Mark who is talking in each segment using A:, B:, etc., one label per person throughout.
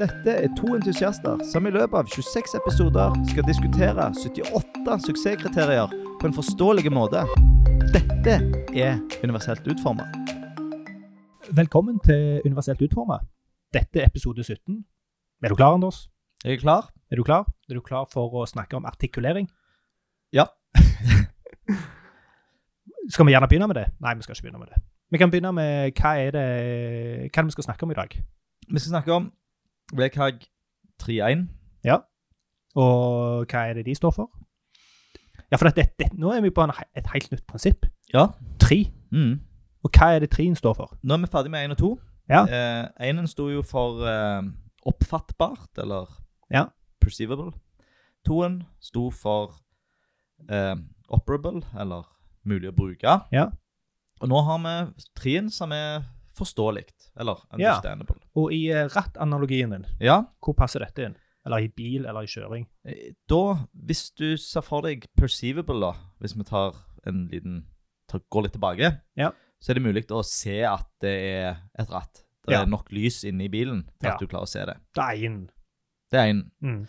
A: Dette er to entusiaster som i løpet av 26 episoder skal diskutere 78 suksesskriterier på en forståelig måte. Dette er universelt utforma.
B: Velkommen til Universelt utforma. Dette er episode 17. Er du klar, Anders?
A: Er du klar?
B: Er du klar? Er du klar for å snakke om artikulering?
A: Ja.
B: skal vi gjerne begynne med det? Nei, vi skal ikke begynne med det. Vi kan begynne med hva er det, hva er det vi skal snakke om i dag.
A: Vi skal snakke om VKG 3.1.
B: Og hva er det de står for? Ja, for dette, dette, nå er vi på en, he- et helt nytt prinsipp.
A: Ja.
B: Tre.
A: Mm.
B: Og hva er det treen står for?
A: Nå er vi ferdig med 1 og 2.
B: Ja.
A: Eh, Einen sto jo for eh, oppfattbart, eller
B: Ja.
A: perceivable. Toen sto for eh, operable, eller mulig å bruke.
B: Ja.
A: Og nå har vi treen som er forståelig, eller
B: Ja.
A: understandable.
B: Og i eh, rattanalogien din,
A: Ja.
B: hvor passer dette inn? Eller i bil, eller i kjøring?
A: Eh, Da, hvis du ser for deg perceivable, da, hvis vi tar en liten tar, Går litt tilbake,
B: Ja.
A: så er det mulig å se at det er et ratt. Det
B: Ja.
A: er nok lys inne i bilen til
B: Ja.
A: at du klarer å se det.
B: Det er en.
A: Det er én.
B: Mm.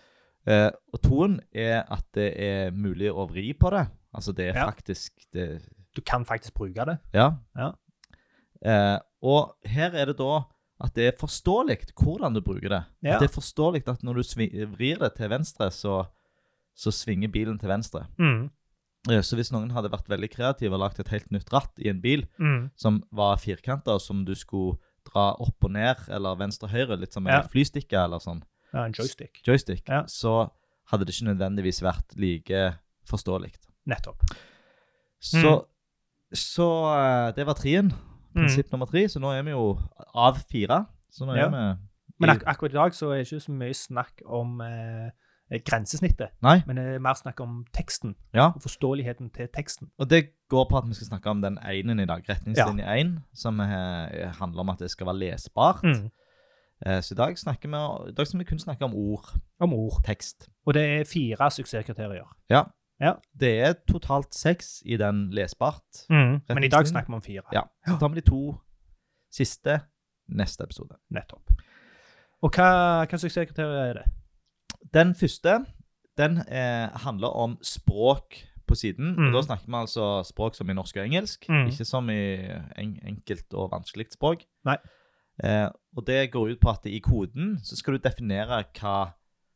A: Eh, og toen er at det er mulig å vri på det. Altså det er
B: Ja.
A: faktisk det,
B: Du kan faktisk bruke det.
A: Ja.
B: Ja.
A: Eh, og her er det da at det er forståelig hvordan du bruker det.
B: Ja.
A: At det er forståelig at når du svi vrir det til venstre, så, så svinger bilen til venstre.
B: Mm.
A: Eh, Så hvis noen hadde vært veldig kreative og lagt et helt nytt ratt i en bil
B: Mm.
A: som var firkanta, og som du skulle dra opp og ned eller venstre-høyre, litt som en
B: Ja.
A: flystikke eller sånn,
B: Ja, en joystick.
A: joystick,
B: Ja.
A: så hadde det ikke nødvendigvis vært like forståelig.
B: Nettopp.
A: Så,
B: Mm.
A: så eh, det var trien. Prinsipp nummer tre. Så nå er vi jo av fire. Så nå er
B: Ja.
A: vi
B: Men ak akkurat i dag så er det ikke så mye snakk om eh, grensesnittet,
A: Nei.
B: men det er mer snakk om teksten
A: Ja.
B: og forståeligheten til teksten.
A: Og det går på at vi skal snakke om den enen i dag. Retningslinje én, som eh, handler om at det skal være lesbart.
B: Mm.
A: Eh, Så i dag, snakker vi, i dag skal vi kun snakke om ord,
B: Om ord.
A: tekst.
B: Og det er fire suksesskriterier.
A: Det er totalt seks i den lesbart.
B: Men Mm. i dag snakker vi om fire.
A: Ja. Så tar vi de to siste neste episode.
B: Nettopp. Og hva, hva suksesskriterier er det?
A: Den første den eh, handler om språk på siden.
B: Mm.
A: og Da snakker vi altså språk som i norsk og engelsk,
B: Mm.
A: ikke som i en, enkelt og vanskelig språk.
B: Nei.
A: Eh, og det går ut på at i koden så skal du definere hva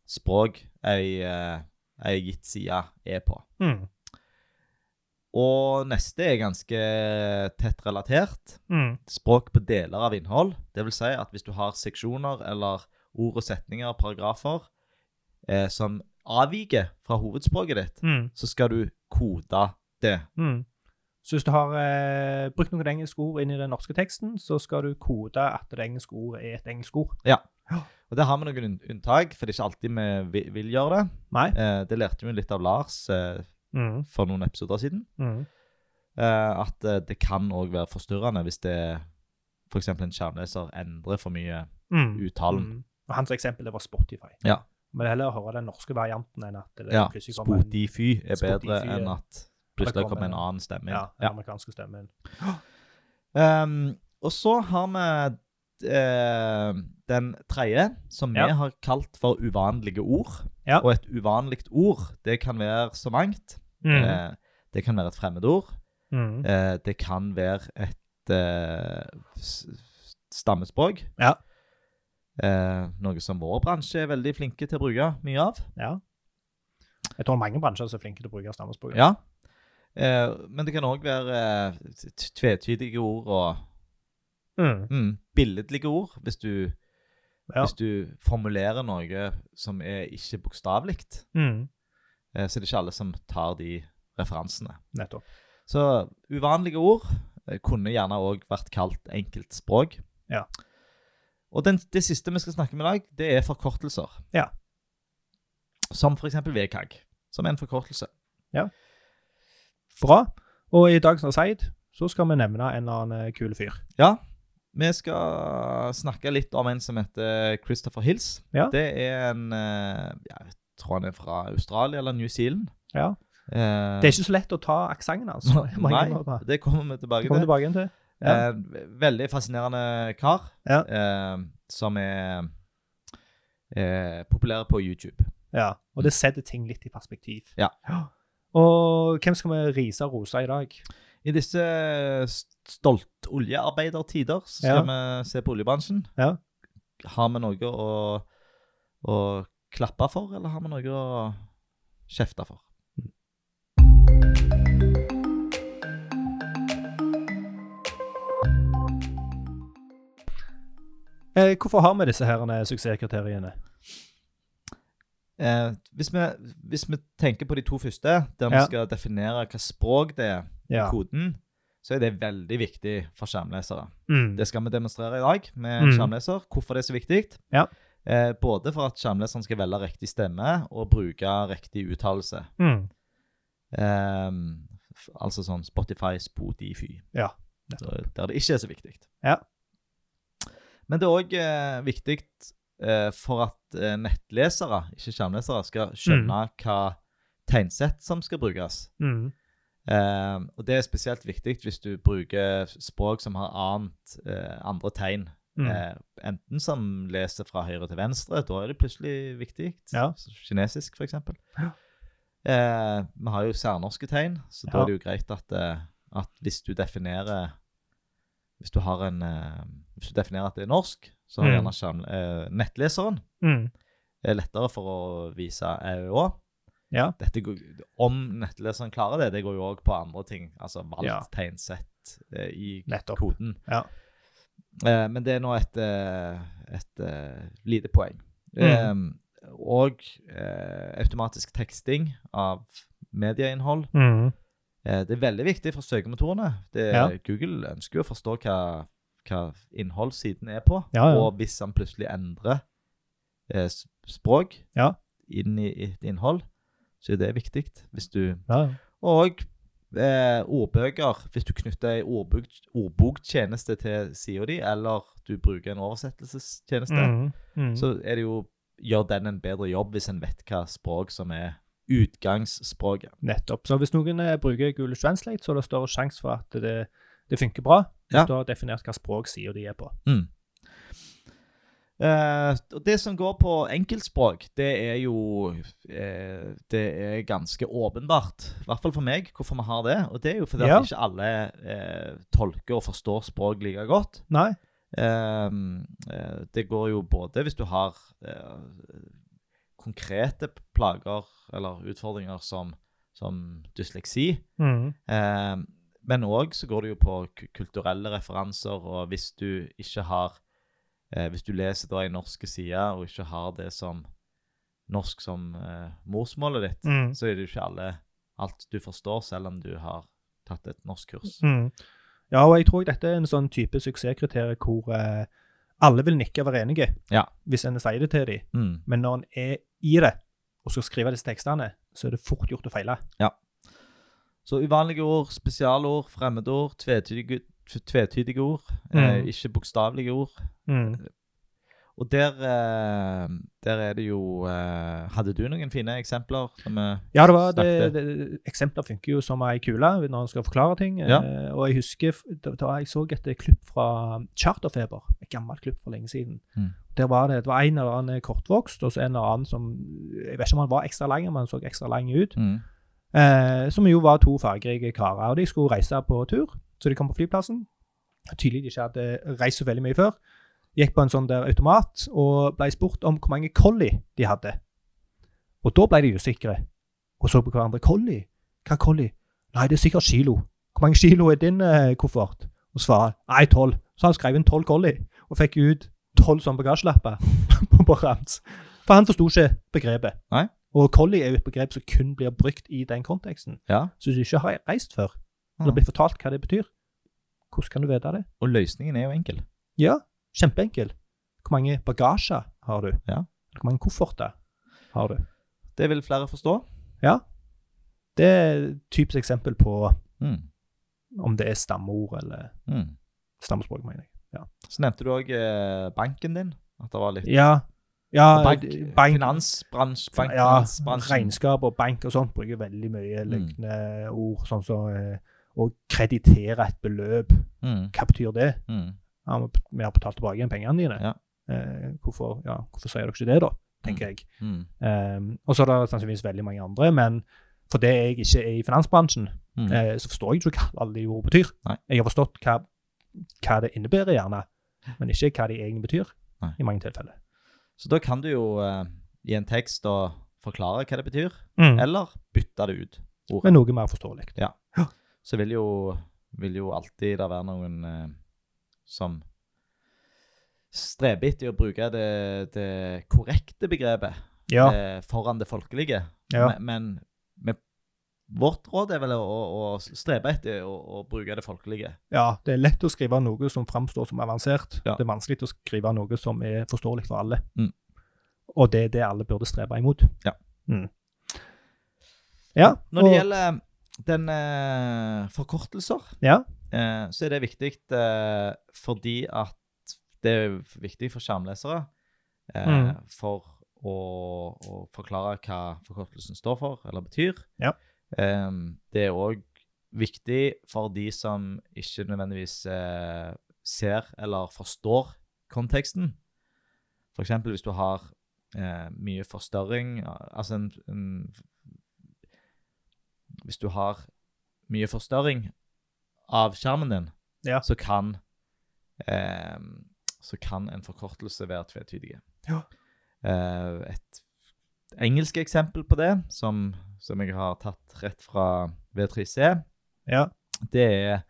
A: språk ei, eh, ei gitt side er på.
B: Mm.
A: Og neste er ganske tett relatert.
B: Mm.
A: Språk på deler av innhold. Det vil si at hvis du har seksjoner eller ord og setninger, paragrafer, eh, som avviker fra hovedspråket ditt,
B: Mm.
A: så skal du kode det.
B: Mm. Så hvis du har eh, brukt noen engelske ord inn i den norske teksten, så skal du kode at det engelske ordet er et engelsk ord.
A: Og det har vi noen unn- unntak, for det er ikke alltid vi vi- vil gjøre det.
B: Nei.
A: Eh, det lærte vi litt av Lars eh,
B: Mm.
A: for noen episoder siden.
B: Mm.
A: Eh, at eh, det kan òg være forstyrrende hvis det f.eks. en skjermleser endrer for mye
B: Mm.
A: uttalen.
B: Mm. Og hans eksempel det var Spotify.
A: Ja.
B: Men det er heller å høre den norske varianten enn at det
A: Ja,
B: plutselig kommer en,
A: Spotify er bedre
B: Spotify er-
A: enn at plutselig kommer en annen stemme
B: ja,
A: inn.
B: den
A: Ja.
B: amerikanske stemmen.
A: Ehm, og så har vi eh, den tredje, som vi
B: Ja.
A: har kalt for uvanlige ord.
B: Ja.
A: Og et uvanlig ord, det kan være så mangt.
B: Mhm.
A: Eh, det kan være et fremmedord.
B: Mm.
A: Eh, det kan være et eh, s- stammespråk.
B: Ja.
A: Eh, noe som vår bransje er veldig flinke til å bruke mye av.
B: ja. Jeg tror mange bransjer er så flinke til å bruke stammespråk.
A: Ja. Eh, men det kan òg være eh, t- t- tvetydige ord og
B: Mm.
A: mm, billedlige ord, hvis du,
B: Ja.
A: hvis du formulerer noe som er ikke bokstavelig.
B: Mm.
A: Eh, så det er ikke alle som tar de referansene.
B: Nettopp.
A: Så uvanlige ord eh, kunne gjerne òg vært kalt enkeltspråk.
B: Ja.
A: Og den, det siste vi skal snakke om i dag, det er forkortelser.
B: Ja.
A: Som f.eks. VKG, som er en forkortelse.
B: Bra. Og i Dagens Narseid så skal vi nevne en eller annen eh, kul fyr.
A: Ja. Vi skal snakke litt om en som heter Christopher Hills.
B: Ja.
A: Det er en eh, ja, Jeg tror han er fra Australia eller New Zealand.
B: Ja.
A: Eh,
B: Det er ikke så lett å ta aksenten, altså. Jeg må
A: Nei,
B: innrømme det.
A: det kommer vi tilbake
B: Kom
A: til.
B: tilbake igjen til. Ja.
A: Eh, veldig fascinerende kar
B: Ja.
A: eh, som er eh, populære på YouTube.
B: Ja, og det setter ting litt i perspektiv.
A: Mm. Ja.
B: Og hvem skal vi rise og rose i dag?
A: I disse stolt oljearbeidertider så skal vi se på oljebransjen.
B: Ja.
A: Har vi noe å, å klappe for, eller har vi noe å kjefte for?
B: Eh, hvorfor har vi disse herrene suksesskriteriene?
A: Eh, hvis, vi, hvis vi tenker på de to første, der vi
B: Ja.
A: skal definere hva språk det er, i
B: Ja.
A: koden, så er det veldig viktig for skjermlesere.
B: Mm.
A: Det skal vi demonstrere i dag med
B: Mm.
A: en skjermleser. Hvorfor det er så viktig.
B: Ja.
A: Eh, både for at skjermleseren skal velge riktig stemme og bruke riktig uttalelse.
B: Mm.
A: Ehm, f- altså sånn Spotify, Spotify.
B: Ja,
A: Så Der det ikke er så viktig.
B: Ja.
A: Men det er òg eh, viktig eh, for at eh, nettlesere, ikke skjermlesere, skal skjønne hva tegnsett som skal brukes.
B: Mm.
A: Eh, og det er spesielt viktig hvis du bruker språk som har annet, eh, andre tegn.
B: Mm.
A: Eh, enten som leser fra høyre til venstre, da er det plutselig viktig.
B: Ja.
A: S- Kinesisk, f.eks.
B: Ja.
A: Eh, vi har jo særnorske tegn, så da
B: Ja.
A: er det jo greit at, eh, at hvis du definerer Hvis du har en eh, Hvis du definerer at det er norsk, så har
B: Mm.
A: gjerne skjerm- eh, nettleseren
B: Mm.
A: er lettere for å vise EØÅ.
B: Ja.
A: Dette går, om nettleseren klarer det, det går jo òg på andre ting. Altså valgt
B: Ja.
A: tegnsett eh, i
B: Nettopp.
A: koden.
B: Ja.
A: Eh, men det er nå et, eh, et eh, lite poeng.
B: Mm.
A: Eh, og eh, automatisk teksting av medieinnhold.
B: Mm.
A: Eh, det er veldig viktig for søkemotorene. Det,
B: Ja.
A: Google ønsker jo å forstå hva, hva innhold siden er på.
B: Ja, ja.
A: Og hvis han plutselig endrer eh, s- språk
B: Ja.
A: inn i i et innhold, så er det viktig. Hvis du,
B: Ja.
A: og eh, ordbøker. Hvis du knytter ei ordbok, ordboktjeneste til sida di, eller du bruker en oversettelsestjeneste,
B: Mm. Mm.
A: så er det jo Gjør den en bedre jobb hvis en vet hva språk som er utgangsspråket.
B: Nettopp. Så hvis noen eh, bruker Google Translate, så er det større sjanse for at det, det funker bra. Hvis
A: Ja.
B: du har definert hva språk sier de er på.
A: Mm. Eh, og det som går på enkeltspråk, det er jo eh, Det er ganske åpenbart, i hvert fall for meg, hvorfor vi har det. Og det er jo fordi
B: Ja.
A: at ikke alle eh, tolker og forstår språk like godt.
B: Nei.
A: Eh, eh, det går jo både hvis du har eh, konkrete plager eller utfordringer som, som dysleksi,
B: Mm.
A: Eh, men òg så går det jo på ku- kulturelle referanser, og hvis du ikke har eh, Hvis du leser da i norske sider og ikke har det som norsk som eh, morsmålet ditt,
B: Mm.
A: så er det jo ikke alle alt du forstår, selv om du har tatt et norskkurs.
B: Mm. Ja, og jeg tror dette er en sånn type suksesskriterier hvor eh, alle vil nikke og være enige
A: Ja.
B: hvis en sier det til dem.
A: Mm.
B: Men når en er i det og skal skrive disse tekstene, så er det fort gjort å feile.
A: Så uvanlige ord, spesialord, fremmedord, tvetydige, tvetydige ord, eh,
B: Mm.
A: ikke bokstavelige ord. Og der, eh, der er det jo eh, Hadde du noen fine eksempler? Som, eh,
B: Ja, det var, det,
A: Snakket.
B: det, eksempler funker jo som ei kule når en skal forklare ting.
A: Ja.
B: Eh, og jeg husker f- da, da jeg så et eh, klipp fra Charterfeber, et gammelt klipp for lenge siden.
A: Mm.
B: Der var det, det var en eller annen kortvokst, og så en eller annen som Jeg vet ikke om han var ekstra lang, men han så ekstra lang ut.
A: mm.
B: Eh, som jo var to fargerike karer. Og de skulle reise på tur, så de kom på flyplassen. Tydelig de ikke hadde reist så veldig mye før. Gikk på en sånn der automat og ble spurt om hvor mange collie de hadde. Og da ble de usikre og så på hverandre. Collie? Hva collie? Nei, det er sikkert kilo. Hvor mange kilo er din eh, koffert? Og svarer nei, tolv. Så han skrev inn tolv collie og fikk ut tolv sånne bagasjelapper på, på rams. For han forsto ikke begrepet.
A: Nei.
B: Og collie er jo et begrep som kun blir brukt i den konteksten.
A: Ja. Mm.
B: Så hvis du ikke har reist før,
A: Ja.
B: eller blitt fortalt hva det betyr, hvordan kan du vite det?
A: Og løsningen er jo enkel.
B: Ja, kjempeenkel. Hvor mange bagasjer har du?
A: Ja.
B: Eller Hvor mange kofferter har du?
A: Det vil flere forstå.
B: Det er et typisk eksempel på
A: Mm.
B: om det er stammeord eller
A: Mm.
B: stammespråk, mener jeg.
A: Så nevnte du òg eh, banken din. At det var litt
B: Ja, ja
A: bank,
B: d- bank-
A: Finansbransje, bank,
B: ja,
A: finansbransjen.
B: regnskap og bank og sånt bruker veldig mye
A: Mm.
B: lignende ord, sånn som eh, å kreditere et beløp.
A: Mm,
B: Hva betyr det?
A: mm.
B: Ja, men vi har betalt tilbake igjen pengene dine.
A: Ja.
B: Eh, hvorfor, ja, hvorfor sier dere ikke det, da? tenker jeg.
A: Mm.
B: Ehm, og så er det sannsynligvis veldig mange andre, men fordi jeg ikke er i finansbransjen,
A: Mm.
B: eh, så forstår jeg ikke hva alle de ordene betyr.
A: Nei.
B: Jeg har forstått hva, hva det innebærer, gjerne, men ikke hva de egentlig betyr,
A: Nei.
B: i mange tilfeller.
A: Så da kan du jo eh, i en tekst da forklare hva det betyr, eller bytte det ut.
B: Mm. Men noe mer forståelig.
A: Så vil jo, vil jo alltid det være noen eh, som streber etter å bruke det, det korrekte begrepet
B: Ja.
A: eh, foran det folkelige.
B: Ja.
A: Men, men men vårt råd er vel å, å å strebe etter å, å bruke det folkelige.
B: ja, det er lett å skrive noe som framstår som avansert.
A: Ja.
B: Det er vanskelig å skrive noe som er forståelig for alle.
A: Mm.
B: Og det er det alle burde strebe imot.
A: Ja.
B: Mm. Ja,
A: Når det
B: og-
A: gjelder den eh, forkortelser,
B: Ja.
A: eh, så er det viktig eh, fordi at det er viktig for skjermlesere eh,
B: Mm.
A: for å, å forklare hva forkortelsen står for eller betyr.
B: Ja.
A: Eh, det er òg viktig for de som ikke nødvendigvis eh, ser eller forstår konteksten. F.eks. hvis du har eh, mye forstørring Altså en, en hvis du har mye forstørring av skjermen din,
B: Ja.
A: så kan eh, så kan en forkortelse være tvetydig.
B: Ja.
A: Eh, et engelsk eksempel på det, som, som jeg har tatt rett fra V3C,
B: ja.
A: det er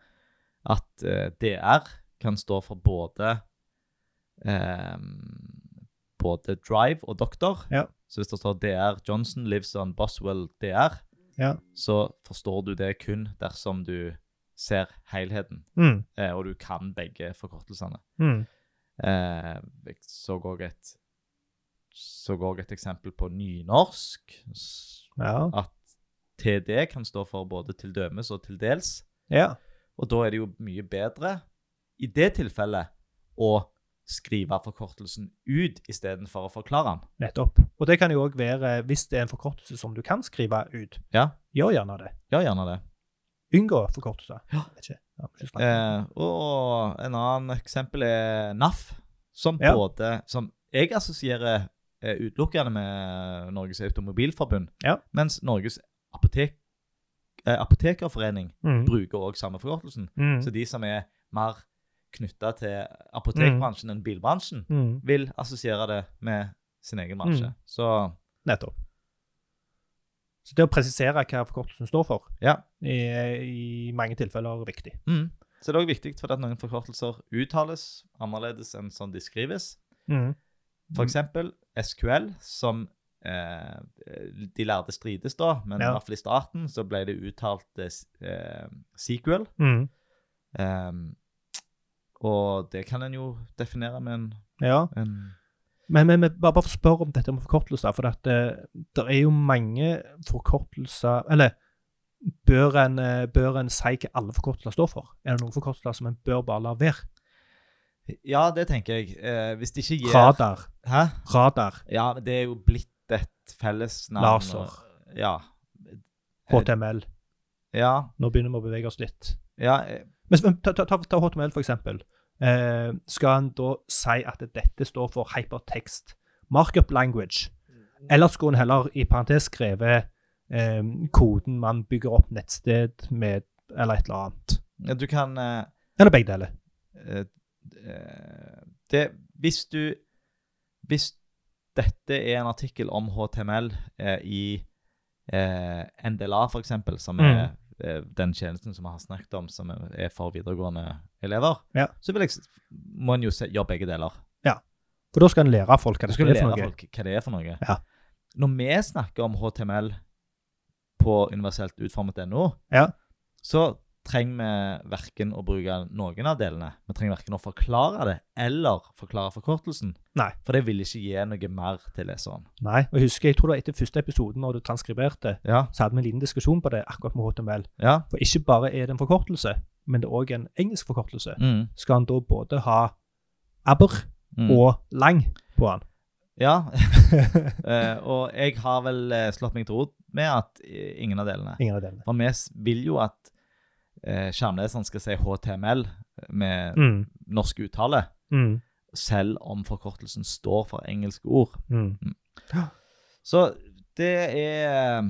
A: at eh, DR kan stå for både eh, både Drive og Doktor.
B: Ja.
A: Så hvis det står DR Johnson lives on Boswell DR,
B: Ja.
A: så forstår du det kun dersom du ser helheten,
B: Mm.
A: eh, og du kan begge forkortelsene.
B: Mm.
A: Eh, jeg så òg et, så også et eksempel på nynorsk. s-
B: Ja.
A: At TD kan stå for både til dømes og til dels.
B: ja.
A: Og da er det jo mye bedre i det tilfellet å skrive forkortelsen ut istedenfor å forklare den.
B: Nettopp. Og det kan jo òg være, hvis det er en forkortelse som du kan skrive ut,
A: Ja.
B: gjør gjerne det.
A: Ja, gjerne det.
B: Unngå forkortelser.
A: Ja.
B: Vet ikke. Ja, må ikke snakke.
A: Eh, og en annen eksempel er NAF, som
B: Ja.
A: både Som jeg assosierer eh, utelukkende med Norges Automobilforbund,
B: Ja.
A: mens Norges apotek, eh, Apotekerforening
B: Mm.
A: bruker òg samme forkortelsen.
B: Mm.
A: Så de som er mer knytta til apotekbransjen enn bilbransjen,
B: Mm.
A: vil assosiere det med sin egen bransje.
B: Mm.
A: Så
B: Nettopp. Så det å presisere hva forkortelsen står for,
A: Ja.
B: er i mange tilfeller viktig.
A: mm. Så det er òg viktig for at noen forkortelser uttales annerledes enn sånn de skrives.
B: Mm.
A: For eksempel SQL, som eh, de lærde strides da, men
B: Ja.
A: i hvert fall i starten så ble det uttalt eh, s- eh, SQL.
B: Mm.
A: Ehm, og det kan en jo definere med en,
B: Ja.
A: en
B: Men, men, men bare, bare for å spørre om dette med forkortelser, for at, det er jo mange forkortelser Eller bør en, eh, bør en si hva alle forkortelser står for? Er det noen forkortelser som en bør bare la være?
A: Ja, det tenker jeg. Eh, hvis det ikke gir
B: Radar.
A: Hæ?
B: Radar.
A: Ja, men det er jo blitt et fellesnavn.
B: Laser.
A: og- Ja.
B: HTML.
A: Ja.
B: Nå begynner vi å bevege oss litt.
A: ja eh,
B: Men s- ta, ta, ta, ta HTML, for eksempel. Eh, skal en da si at dette står for hypertext markup language?
A: Mm.
B: Eller skulle en heller i parentes skrevet eh, koden man bygger opp nettsted med, eller et eller annet?
A: du kan eh,
B: Eller begge deler.
A: eh, eh, det, Hvis du Hvis dette er en artikkel om HTML eh, i eh, NDLA, for eksempel, som er eh, den tjenesten som vi har snakket om, som er er for videregående elever,
B: Ja.
A: så vil jeg, s- må en jo se, gjøre begge deler.
B: For da skal en lære folk hva
A: Du
B: det
A: skal
B: er for
A: lære
B: noe.
A: folk hva det er for noe.
B: Ja.
A: Når vi snakker om HTML på universelt utformet.no,
B: Ja.
A: så trenger vi verken å bruke noen av delene. Vi trenger verken å forklare det eller forklare forkortelsen.
B: Nei.
A: For det vil ikke gi noe mer til leseren.
B: Nei, og jeg husker, jeg tror det var etter første episoden når du transkriberte,
A: Ja,
B: så hadde vi en liten diskusjon på det akkurat med HTML.
A: ja.
B: For ikke bare er det en forkortelse, men det er òg en engelsk forkortelse.
A: Mm,
B: Skal en da både ha aber
A: mm.
B: og lang på den?
A: Ja. Eh, og jeg har vel eh, slått meg til ro med at eh, ingen av delene.
B: Ingen av delene.
A: For vi s- vil jo at eh, skjermleseren skal si HTML med
B: Mm,
A: norsk uttale.
B: mm,
A: selv om forkortelsen står for engelske ord.
B: Mm.
A: Så det er eh,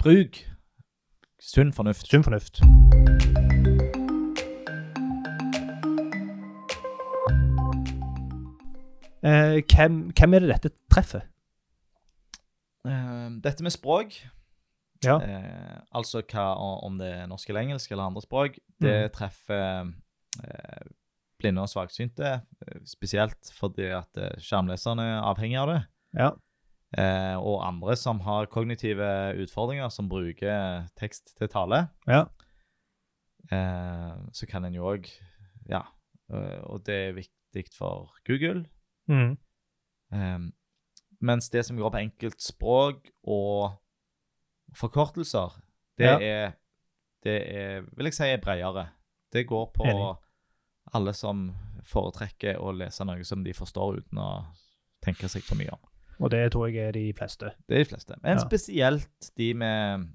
A: Bruk sunn fornuft.
B: Sunn fornuft. Eh, hvem, hvem er det dette treffer?
A: Eh, Dette med språk,
B: Ja.
A: eh, altså hva, om det er norsk eller engelsk eller andre språk, det
B: Mm.
A: treffer eh, blinde og svaksynte, eh, spesielt fordi at eh, skjermleserne er avhengig av det.
B: Ja.
A: Eh, og andre som har kognitive utfordringer, som bruker tekst til tale.
B: Ja.
A: Eh, så kan en jo òg Ja. eh, og det er viktig for Google.
B: Mm.
A: Eh, mens det som går på enkeltspråk og forkortelser, det
B: Ja.
A: er Det er, vil jeg si, er bredere. Det går på
B: Enig.
A: alle som foretrekker å lese noe som de forstår, uten å tenke seg for mye om.
B: Og det tror jeg er de fleste.
A: Det er de fleste. Men
B: Ja.
A: spesielt de med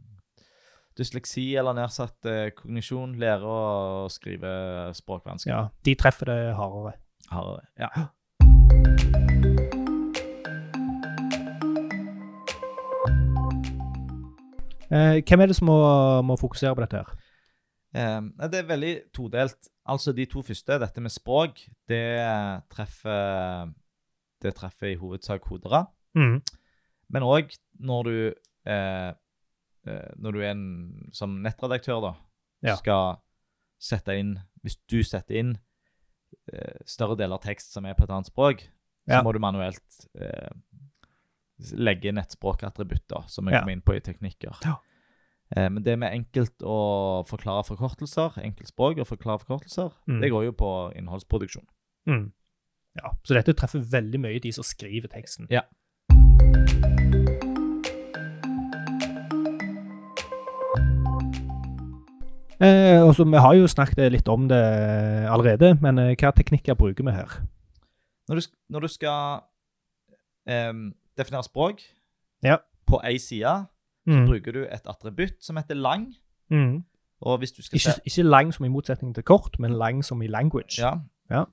A: dysleksi eller nedsatt eh, kognisjon, lærer å skrive språkvansker.
B: Ja, De treffer det hardere.
A: Har, ja.
B: Eh, hvem er det som må, må fokusere på dette? her?
A: Eh, nei, det er veldig todelt. Altså de to første, dette med språk, det treffer, det treffer i hovedsak hodere.
B: Mm.
A: Men òg når du eh, eh, Når du er en som nettredaktør, da,
B: Ja.
A: skal sette inn Hvis du setter inn eh, større deler av tekst som er på et annet språk,
B: Ja.
A: så må du manuelt eh, legge nettspråkattributter, som vi
B: Ja.
A: kom inn på i teknikker.
B: Ja.
A: Eh, men det med enkelt å forklare forkortelser, enkeltspråk og forklare forkortelser,
B: Mm.
A: det går jo på innholdsproduksjon.
B: Mm. Ja, Så dette treffer veldig mye de som skriver teksten.
A: Ja.
B: Eh, og så Vi har jo snakket litt om det allerede, men eh, hva teknikker bruker vi her?
A: Når du, sk- når du skal em, definere språk
B: Ja.
A: på ei side,
B: Mm.
A: bruker du et attributt som heter lang.
B: Mm.
A: Og hvis du skal
B: Ikke,
A: se
B: ikke lang som i motsetning til kort, men lang som i language.
A: ja.
B: Ja.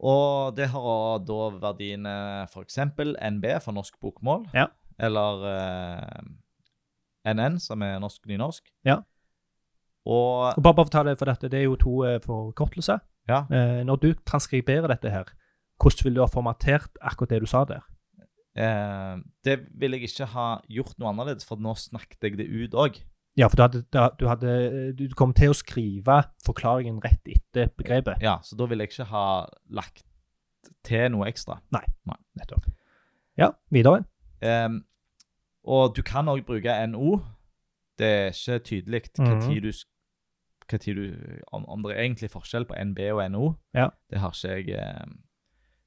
A: Og det har da eh, verdiene f.eks. NB for norsk bokmål,
B: Ja.
A: eller eh, NN, som er norsk-nynorsk.
B: Ja.
A: Og
B: Og bare, bare for å ta det for dette, det er jo to eh, forkortelser.
A: ja,
B: Eh, når du transkriberer dette her, hvordan vil du ha formatert akkurat det du sa der?
A: eh, det vil jeg ikke ha gjort noe annerledes, for nå snakket jeg det ut òg.
B: Ja, for du, hadde, da- du, hadde, eh, du kom til å skrive forklaringen rett etter begrepet.
A: Ja, så da vil jeg ikke ha lagt til noe ekstra.
B: Nettopp. Ja, videre.
A: Ehm, og du kan òg bruke NO. Det er ikke tydelig hva
B: Mhm.
A: tid du, s- hva tid du om, om det er egentlig forskjell på NB og NO.
B: Ja.
A: Det har ikke jeg eh,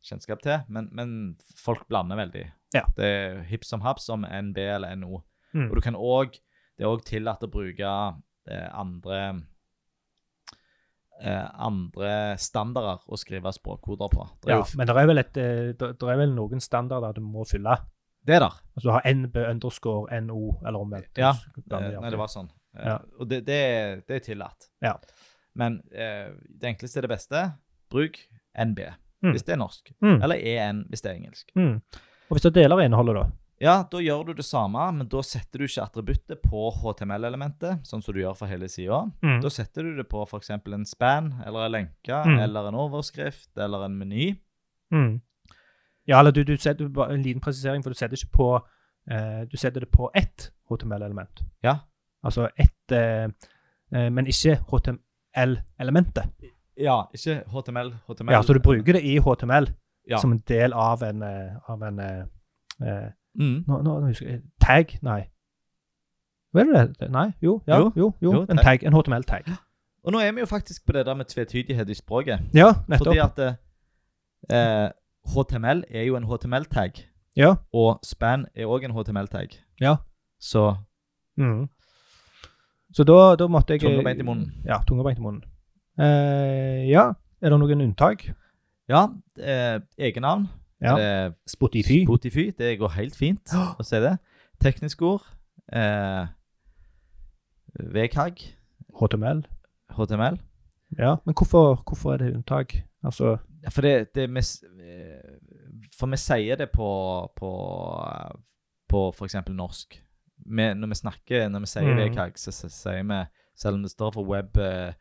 A: kjennskap til, men, men folk blander veldig.
B: Ja.
A: Det er hipp som happ som NB eller NO.
B: Mm.
A: Og du kan òg Det er òg tillatt å bruke eh, andre eh, andre standarder å skrive språkkoder på. Det er,
B: Ja,
A: jo, f-
B: men det er, vel et, eh, det det er vel noen standarder du må fylle.
A: det er der.
B: Altså du har NB underscore NO, eller omvendt.
A: Ja,
B: Så blander
A: Eh,
B: de
A: Nei, det var sånn. Eh,
B: Ja.
A: Og det, det, er- det er tillatt.
B: Ja.
A: Men eh, det enkleste er det beste. Bruk NB
B: Mm.
A: hvis det er norsk,
B: Mm.
A: eller EN hvis det er engelsk.
B: Mm. Og hvis du deler innholdet, da?
A: Ja, da gjør du det samme, men da setter du ikke attributtet på HTML-elementet, sånn som du gjør for hele sida. Da setter du det på f.eks. en span, eller en lenke,
B: Mm.
A: eller en overskrift, eller en meny.
B: Mm. Ja, eller du, du setter bare en liten presisering, for du setter ikke på eh, Du setter det på ett HTML-element.
A: Ja.
B: Altså ett eh, eh, Men ikke HTML-elementet.
A: Ja, ikke HTML, HTML.
B: Ja, så du bruker det i HTML
A: Ja.
B: som en del av en, eh, av en eh, eh,
A: mm.
B: nå, nå, nå husker jeg Tag? Nei. Hva er det det? Nei, jo, ja, jo,
A: Jo.
B: jo,
A: Jo,
B: en
A: tag.
B: tag. En HTML-tag.
A: Og nå er vi jo faktisk på det der med tvetydighet i språket.
B: Ja, nettopp.
A: Fordi at eh, HTML er jo en HTML-tag,
B: Ja.
A: og span er òg en HTML-tag.
B: Ja.
A: Så
B: Mm. Så da, da måtte jeg
A: tunga beint i munnen.
B: Ja, tunga beint i munnen. Eh, ja, er det noen unntak?
A: Ja, eh, egennavn.
B: Ja.
A: Eh,
B: Spotify.
A: Spotify. Det går helt fint
B: Åh.
A: å si det. Tekniske ord. Eh, VKG,
B: HTML.
A: HTML.
B: Ja, men hvorfor, hvorfor er det unntak? Altså,
A: Ja, For det, det vi, s- eh, For vi sier det på på, eh, på f.eks. norsk. Vi, når vi snakker, når vi sier
B: Mhm.
A: VKG, så så sier vi Selv om det står for Web eh,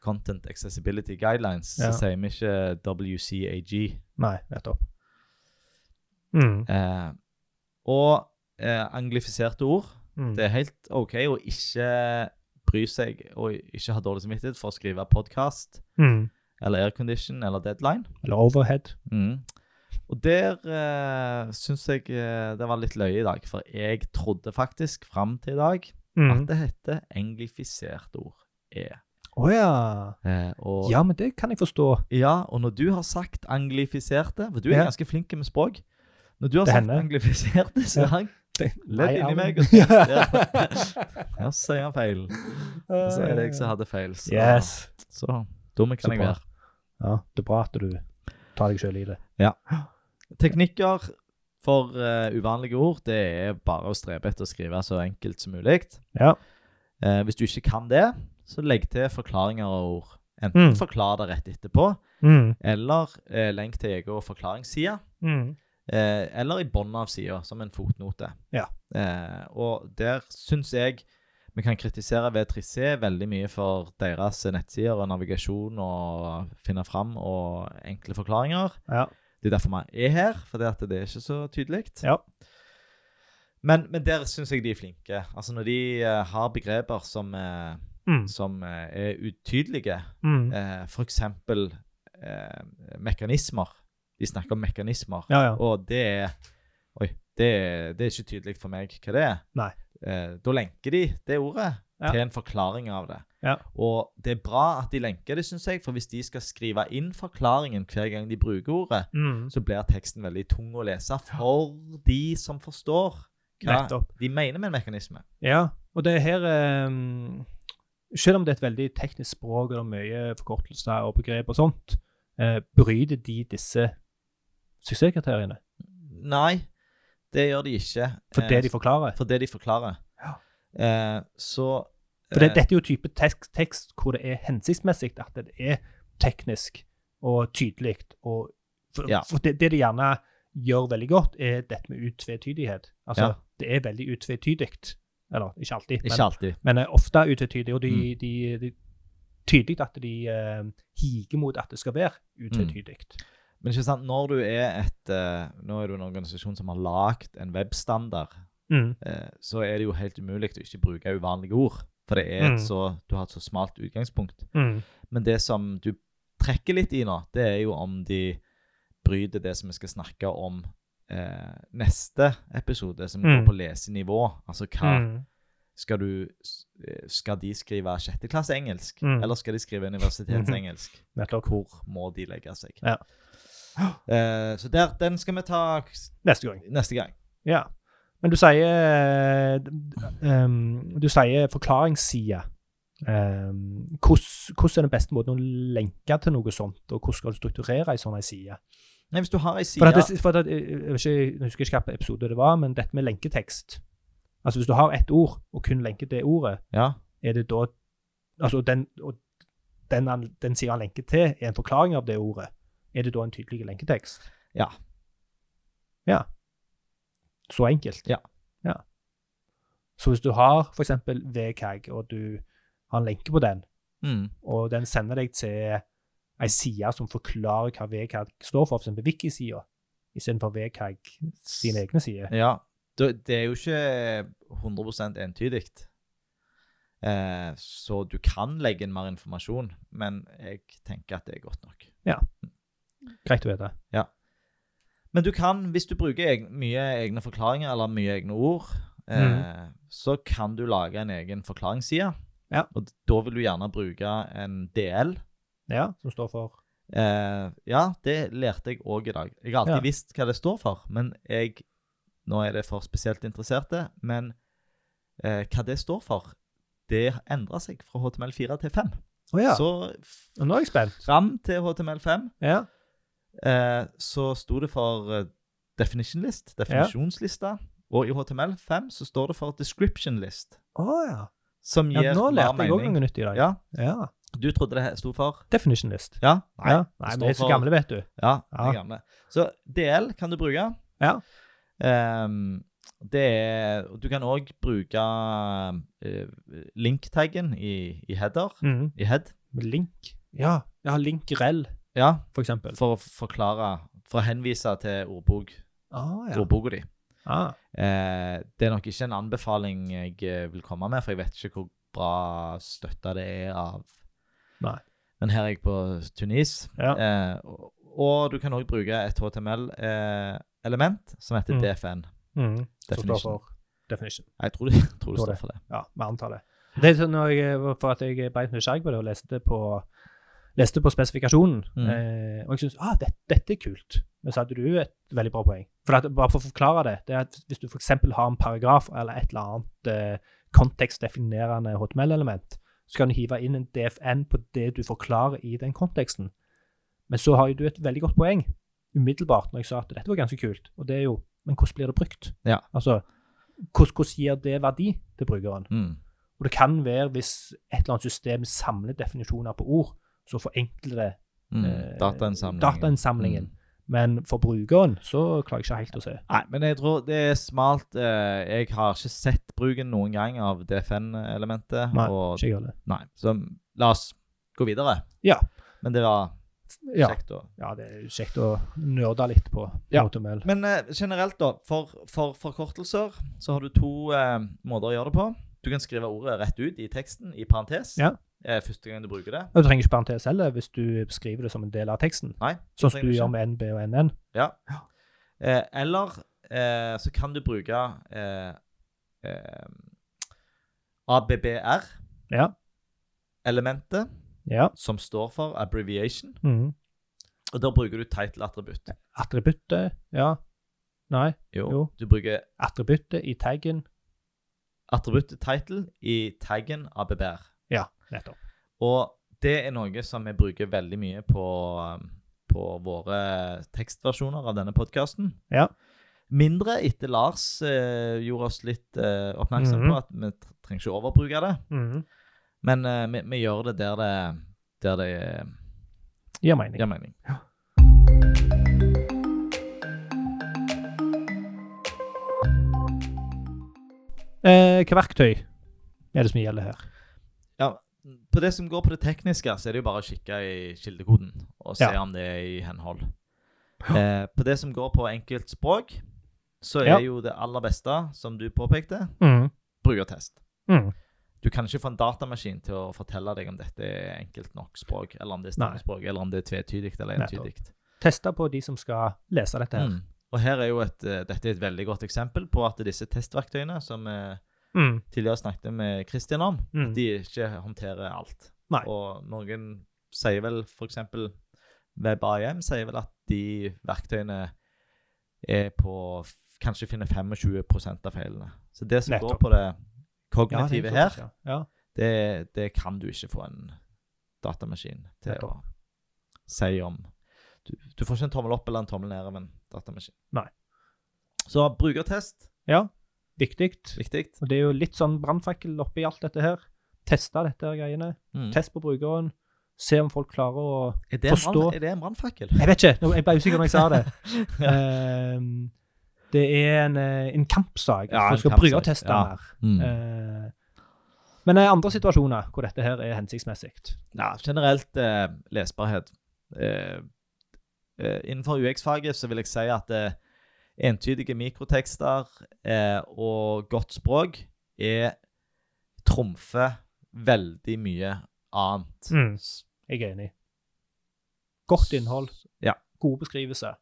A: Content Accessibility Guidelines,
B: Ja.
A: så sier vi ikke WCAG.
B: Nei, nettopp. Mm.
A: Eh, og eh, anglifiserte ord.
B: Mm.
A: Det er helt OK å ikke bry seg og ikke ha dårlig samvittighet for å skrive podkast
B: Mm.
A: eller aircondition eller deadline.
B: Eller overhead.
A: Mm. Og der uh, syns jeg eh, det var litt løye i dag, for jeg trodde faktisk fram til i dag
B: Mm. Å
A: at det heter englifiserte ord. Er.
B: ja.
A: Eh, og, ja.
B: Ja, men det kan jeg forstå.
A: og når du har sagt anglifiserte For du er
B: Ja.
A: ganske flink med språk. Når du har
B: Det
A: sagt
B: hender.
A: anglifiserte, så
B: Ja.
A: har han
B: Det-
A: ledd
B: Nei,
A: inni
B: Arne.
A: meg. Og tenkt, ja. ja, sier han feil. Og så er det jeg som hadde feil. Så,
B: Eh, Yes.
A: så dum
B: Så
A: kan jeg
B: bra.
A: være.
B: Ja, det er bra at du tar deg sjøl i det.
A: Teknikker for eh, uvanlige ord, det er bare å strebe etter å skrive så enkelt som mulig.
B: Ja.
A: Eh, hvis du ikke kan det, så legg til forklaringer av ord. Enten
B: Mm.
A: forklar det rett etterpå,
B: Mm.
A: eller eh, lenk til egen forklaringsside,
B: Mm.
A: eh, eller i bunnen av sida, som en fotnote.
B: Ja.
A: Eh, og der syns jeg vi kan kritisere V3C veldig mye for deres nettsider og navigasjon og finne fram og enkle forklaringer.
B: Ja.
A: Det er derfor vi er her, for det, at det er ikke så tydelig.
B: Ja.
A: Men, men der syns jeg de er flinke. Altså Når de eh, har begreper som, eh,
B: Mm.
A: som eh, er utydelige,
B: Mm.
A: uh, f.eks. eh, mekanismer De snakker om mekanismer,
B: Ja, ja.
A: og det er Oi, det, er- det er ikke tydelig for meg hva det er.
B: Nei.
A: Eh, da lenker de det ordet
B: Ja.
A: til en forklaring av det.
B: Ja.
A: Og det er bra at de lenker det, syns jeg, for hvis de skal skrive inn forklaringen hver gang de bruker ordet,
B: Mm.
A: så blir teksten veldig tung å lese for de som forstår hva
B: Nettopp.
A: de mener med en mekanisme.
B: Ja, og det her ehm, Selv om det er et veldig teknisk språk og det er mye forkortelser og begrep og sånt, eh, bryter de disse suksesskriteriene
A: Nei, det gjør de ikke. Eh,
B: for det de forklarer?
A: for det de forklarer.
B: Ja.
A: Eh, så
B: For det,
A: eh,
B: dette er jo type tekst, tekst hvor det er hensiktsmessig at det er teknisk og tydelig. Og for,
A: Ja.
B: for det, det de gjerne gjør veldig godt, er dette med utvetydighet. Altså,
A: Ja.
B: det er veldig utvetydig. Eller ikke alltid, men,
A: Ikke alltid. Mm.
B: men er ofte utvetydig. Og det de, de, de, tydelig at de eh, higer mot at det skal være
A: Mm.
B: utvetydig.
A: Men ikke sant, når du er et eh, Nå er du en organisasjon som har lagd en webstandard,
B: Mm.
A: eh, så er det jo helt umulig å ikke bruke uvanlige ord. For det er et
B: Mm.
A: så, du har et så smalt utgangspunkt.
B: Mm.
A: Men det som du trekker litt i nå, det er jo om de bryter det som vi skal snakke om eh, neste episode, som går
B: Mm.
A: på lesenivå. Altså hva
B: Mm.
A: skal du eh, Skal de skrive sjetteklasse engelsk,
B: Mm.
A: eller skal de skrive universitetsengelsk?
B: Nettopp.
A: Hvor må de legge seg?
B: Ja.
A: Eh, så der, den skal vi ta s-
B: Neste gang.
A: neste gang.
B: Ja. Men du sier um, Du sier forklaringsside. Um, hvordan hvordan er den beste måten å lenke til noe sånt, og hvordan skal du strukturere ei sånn ei side?
A: Nei, hvis du har ei
B: For
A: side
B: at det, for at, jeg, jeg, vet ikke, jeg husker ikke hvilken episode det var, men dette med lenketekst Altså Hvis du har ett ord, og kun lenker det ordet,
A: ja,
B: er det da Altså, den, og den, han- den siden han lenker til, er en forklaring av det ordet. Er det da en tydelig lenketekst?
A: Ja.
B: Ja. Så enkelt?
A: Ja.
B: ja. Så hvis du har f.eks. VKG, og du har en lenke på den,
A: mm,
B: og den sender deg til ei side som forklarer hva VKG står for, f.eks. Wiki-sida, istedenfor VKG sine egne sider
A: ja. Da- Det er jo ikke 100 entydig. Eh, så du kan legge inn mer informasjon, men jeg tenker at det er godt nok.
B: Greit å vite.
A: Men du kan, hvis du bruker eg- mye egne forklaringer eller mye egne ord, eh, så kan du lage en egen forklaringsside.
B: Ja.
A: Og d- da vil du gjerne bruke en DL.
B: Ja, som står for
A: Eh, ja, det lærte jeg òg i dag. Jeg har alltid
B: Ja.
A: visst hva det står for, men jeg Nå er det for spesielt interesserte, men eh, hva det står for, det endrer seg fra HTML4 til 5.
B: Å ja.
A: Så f-
B: Nå er jeg spent.
A: fram til HTML5
B: Ja.
A: eh, så sto det for eh, definition list, definisjonslista, og i HTML5 så står det for description list,
B: Å ja.
A: som
B: Ja,
A: gir
B: nå
A: mer
B: lærte jeg òg
A: mening.
B: noe nytt i dag.
A: Ja,
B: Ja.
A: Du trodde det sto for?
B: Definition list.
A: Ja?
B: ja. Nei
A: det
B: vi er
A: står
B: så
A: for-
B: gamle, vet du.
A: Ja, det
B: Ja.
A: er gamle. Så DL kan du bruke.
B: Ja.
A: Ehm, det er, du kan òg bruke eh, link-taggen i, i header,
B: Mhm.
A: i head,
B: Link. Ja, ja link rel,
A: ja,
B: for eksempel.
A: for å forklare, for å henvise til ordbok,
B: Ah, ja.
A: ordboka di.
B: Ah,
A: Eh, det er nok ikke en anbefaling jeg eh, vil komme med, for jeg vet ikke hvor bra støtta det er av
B: Nei.
A: Men her er jeg på Tunis.
B: Ja.
A: Eh, og, og du kan òg bruke et HTML-element eh, som heter
B: Mm.
A: DFN.
B: mhm. Som står
A: Definition.
B: for definition.
A: Jeg tror det, tror det
B: Tror
A: står
B: det.
A: for det.
B: Ja, vi antar det. Det er sånn når jeg, for at jeg beit nysgjerrig på det og leste på, leste på spesifikasjonen.
A: Mm.
B: Eh, og jeg syntes ah, dette, dette er kult. Men så hadde du et veldig bra poeng. For at, bare for å forklare det, det er at hvis du f.eks. har en paragraf eller et eller annet eh, kontekstdefinerende HTML-element, så kan du hive inn en DFN på det du forklarer i den konteksten. Men så har jo du et veldig godt poeng umiddelbart når jeg sa at dette var ganske kult. Og det er jo Men hvordan blir det brukt?
A: Ja.
B: Altså, hvordan, hvordan gir det verdi til brukeren?
A: Mm.
B: Og det kan være, hvis et eller annet system samler definisjoner på ord, så forenkler det
A: Mm.
B: eh,
A: Datainnsamlingen.
B: datainnsamlingen.
A: Mm.
B: Men for brukeren så klarer jeg ikke helt å se.
A: Nei, men jeg tror det er smalt. eh, Jeg har ikke sett bruken noen gang av DFN-elementet.
B: Nei,
A: og-
B: ikke jeg heller.
A: Nei, så la oss gå videre.
B: Ja.
A: Men det var
B: Ja,
A: kjekt å
B: ja, det er kjekt å nerde litt på
A: Ja.
B: HTML.
A: Men eh, generelt, da, for, for forkortelser så har du to eh, måter å gjøre det på. Du kan skrive ordet rett ut i teksten, i parentes,
B: Ja.
A: eh, første gang du bruker det.
B: Og Du trenger ikke parentes heller hvis du skriver det som en del av teksten,
A: Nei,
B: sånn som
A: trenger
B: du
A: ikke.
B: gjør med NB og NN.
A: Eh, eller eh, så kan du bruke eh, eh, ABBR-elementet,
B: Ja. ja.
A: som står for abbreviation,
B: Mhm.
A: og da bruker du title-attributt.
B: Attributtet, ja. Nei, Jo.
A: Du bruker
B: attributtet i taggen.
A: attributtet title i taggen ABBR.
B: Nettopp.
A: Og det er noe som vi bruker veldig mye på, um, på våre tekstversjoner av denne podkasten.
B: Ja.
A: Mindre etter Lars eh, gjorde oss litt eh, oppmerksom
B: Mhm.
A: på at vi tr- trenger ikke overbruke det.
B: Mhm.
A: Men eh, vi, vi gjør det der det, der det eh,
B: Gir mening.
A: gir mening.
B: Eh, hva verktøy er det som gjelder her?
A: Ja, på det som går på det tekniske, så er det jo bare å kikke i kildekoden og se
B: Ja.
A: om det er i henhold. Eh, på det som går på enkeltspråk, så er
B: Ja.
A: jo det aller beste, som du påpekte,
B: Mhm.
A: brukertest.
B: Mhm.
A: du kan ikke få en datamaskin til å fortelle deg om dette er enkelt nok språk, eller om det er stammespråk, eller om det er tvetydig eller
B: Nettopp.
A: entydig.
B: teste på de som skal lese dette. her.
A: Mm. Og her er jo et, eh, dette er et veldig godt eksempel på at disse testverktøyene som vi
B: Mm.
A: tidligere snakket med Christian om,
B: Mm.
A: de ikke håndterer alt.
B: Nei.
A: Og noen sier vel f.eks. WebAIM sier vel at de verktøyene er på f- kanskje finner 25 av feilene. Så det som går
B: Nettopp.
A: på det
B: Ja, det er
A: kognitive her,
B: såpass, ja. Ja.
A: det, det kan du ikke få en datamaskin til
B: Nettopp.
A: å si om. Du, du får ikke en tommel opp eller en tommel ned av en datamaskin.
B: Nei.
A: Så brukertest,
B: ja. Viktig.
A: viktig.
B: Og det er jo litt sånn brannfakkel oppi alt dette her. Teste dette her greiene.
A: Mm.
B: Test på brukeren. Se om folk klarer å
A: Er det en
B: forstå-
A: brann- er det en brannfakkel?
B: Jeg vet ikke! nå- Jeg ble usikker når jeg sa det.
A: Ja.
B: Ehm, det er en, eh, en kampsak.
A: Ja,
B: Ja,
A: en
B: skal
A: kampsak,
B: brukerteste
A: ja.
B: mer.
A: Mm.
B: Eh, men det er andre situasjoner hvor dette her er hensiktsmessig.
A: Ja, generelt eh, lesbarhet. Eh, eh, innenfor UX-faget så vil jeg si at eh, entydige mikrotekster eh, og godt språk er trumfer veldig mye annet.
B: Mm.
A: S-
B: Jeg er enig. Godt innhold.
A: Ja.
B: Gode beskrivelser.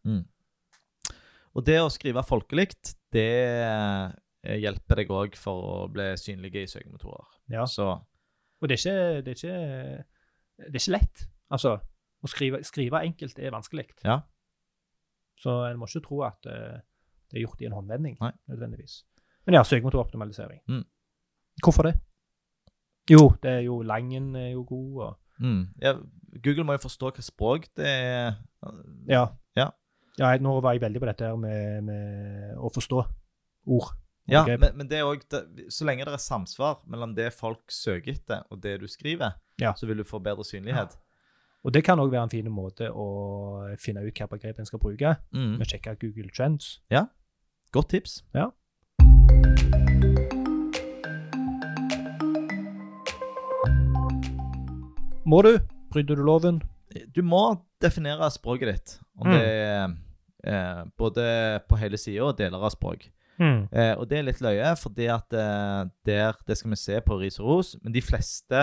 A: Og det å skrive folkelikt, det eh, hjelper deg òg for å bli synlige i søkemotorer.
B: Ja.
A: Så
B: Og det er ikke, det er ikke, det er ikke lett. Altså, å skrive, skrive enkelt er vanskelig.
A: Ja.
B: Så en må ikke tro at eh, det er gjort i en håndvending,
A: Nei.
B: nødvendigvis. Men ja, søkemotoroptimalisering.
A: Mm.
B: Hvorfor det? Jo, det er jo Langen er jo god, og
A: mm, ja, Google må jo forstå hva språk det er.
B: Ja.
A: Ja.
B: Ja, jeg, nå var jeg veldig på dette her med, med å forstå ord.
A: Ja,
B: Ok.
A: men, men det er også, det, så lenge det er samsvar mellom det folk søker etter, og det du skriver,
B: Ja.
A: så vil du få bedre synlighet.
B: Og det kan òg være en fin måte å finne ut hvilke begrep en skal bruke.
A: Mm.
B: Vi sjekker Google Trends.
A: Godt tips.
B: Ja. Må du? Bryter du loven?
A: Du må definere språket ditt, om
B: Mm.
A: det er eh, både på hele sida og deler av språk. Eh, og det er litt løye, fordi at eh, der, det skal vi se på ris og ros, men de fleste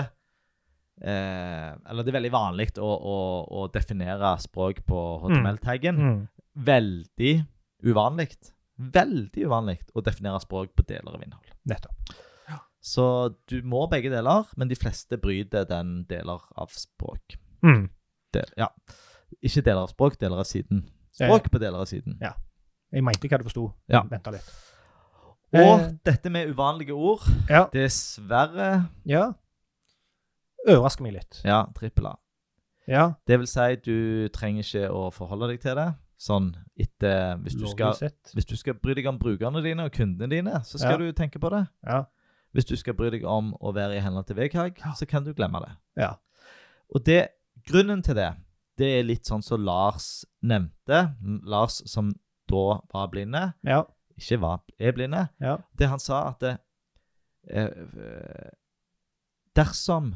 A: eh, Eller det er veldig vanlig å, å, å definere språk på HTML-taggen.
B: Mm.
A: Veldig uvanlig. Veldig uvanlig å definere språk på deler av innhold.
B: Nettopp.
A: Så du må begge deler, men de fleste bryter den deler av språk. Mm. Del, ja. Ikke deler av språk, deler av siden. Språk på deler av siden.
B: Jeg mente hva du forsto.
A: Ja.
B: Venta litt.
A: Og
B: Eh.
A: dette med uvanlige ord
B: Ja.
A: Dessverre
B: ja. Overrasker meg litt.
A: Ja, trippel A.
B: Ja.
A: Det vil si, du trenger ikke å forholde deg til det. Sånn etter Hvis du skal,
B: lovlig sett.
A: hvis du skal bry deg om brukerne dine og kundene dine, så skal du tenke på det.
B: Ja.
A: Hvis du skal bry deg om å være i henhold til VKG, så kan du glemme det.
B: Ja.
A: Og det, grunnen til det, det er litt sånn som Lars nevnte. Lars som da var blinde,
B: Ja.
A: ikke var, er blinde.
B: Ja.
A: Det han sa at eh, eh, Dersom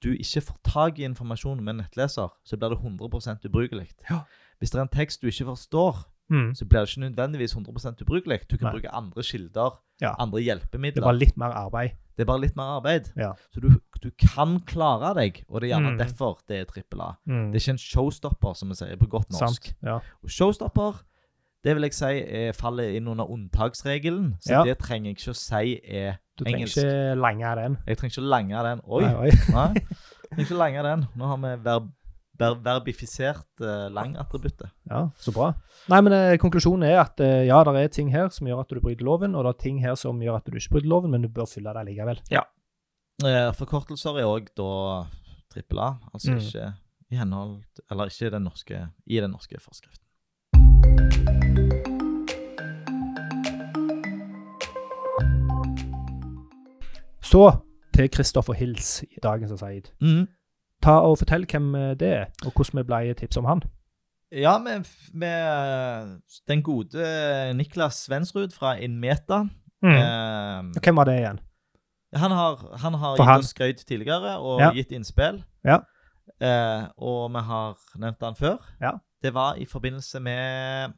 A: du ikke får tak i informasjon med en nettleser, så blir det 100 ubrukelig.
B: Ja.
A: Hvis det er en tekst du ikke forstår,
B: Mm.
A: så blir det ikke nødvendigvis 100 ubrukelig. Du kan
B: Nei.
A: bruke andre kilder,
B: Ja.
A: andre
B: Det
A: hjelpemidler.
B: var litt mer arbeid.
A: litt mer arbeid.
B: Ja.
A: Så du, du kan klare deg, og det er gjerne
B: Mm.
A: derfor det er trippel A.
B: Mm.
A: Det er ikke en showstopper, som vi sier på godt norsk.
B: Sant. Ja.
A: Og showstopper, det vil jeg si er, faller inn under unntaksregelen, så
B: Ja.
A: det trenger jeg ikke å si er
B: Du trenger
A: Engelsk.
B: ikke lange den.
A: Jeg trenger ikke å lange den. Oi!
B: Nei,
A: Nei,
B: oi.
A: jeg trenger ikke å lange den. Nå har vi verb, verb, verbifisert eh, langattributtet.
B: Ja, så bra. Nei, men eh, Konklusjonen er at eh, ja, det er ting her som gjør at du bryter loven, og det er ting her som gjør at du ikke bryter loven, men du bør fylle det likevel.
A: Eh, forkortelser er òg da trippel A, altså
B: Mm.
A: ikke i henhold Eller ikke i den norske, i den norske forskriften.
B: Så til Kristoffer Hils i dagens Asaid.
A: Mhm.
B: Ta og Fortell hvem eh, det er, og hvordan vi ble tips om han.
A: Ja, med, med den gode Niklas Svensrud fra Inmeta. Eh,
B: Og Hvem var det igjen?
A: Han har, han har
B: For
A: gitt
B: han-
A: oss skryt tidligere og
B: Ja.
A: gitt innspill.
B: Ja.
A: Eh, og vi har nevnt han før.
B: Ja.
A: Det var i forbindelse med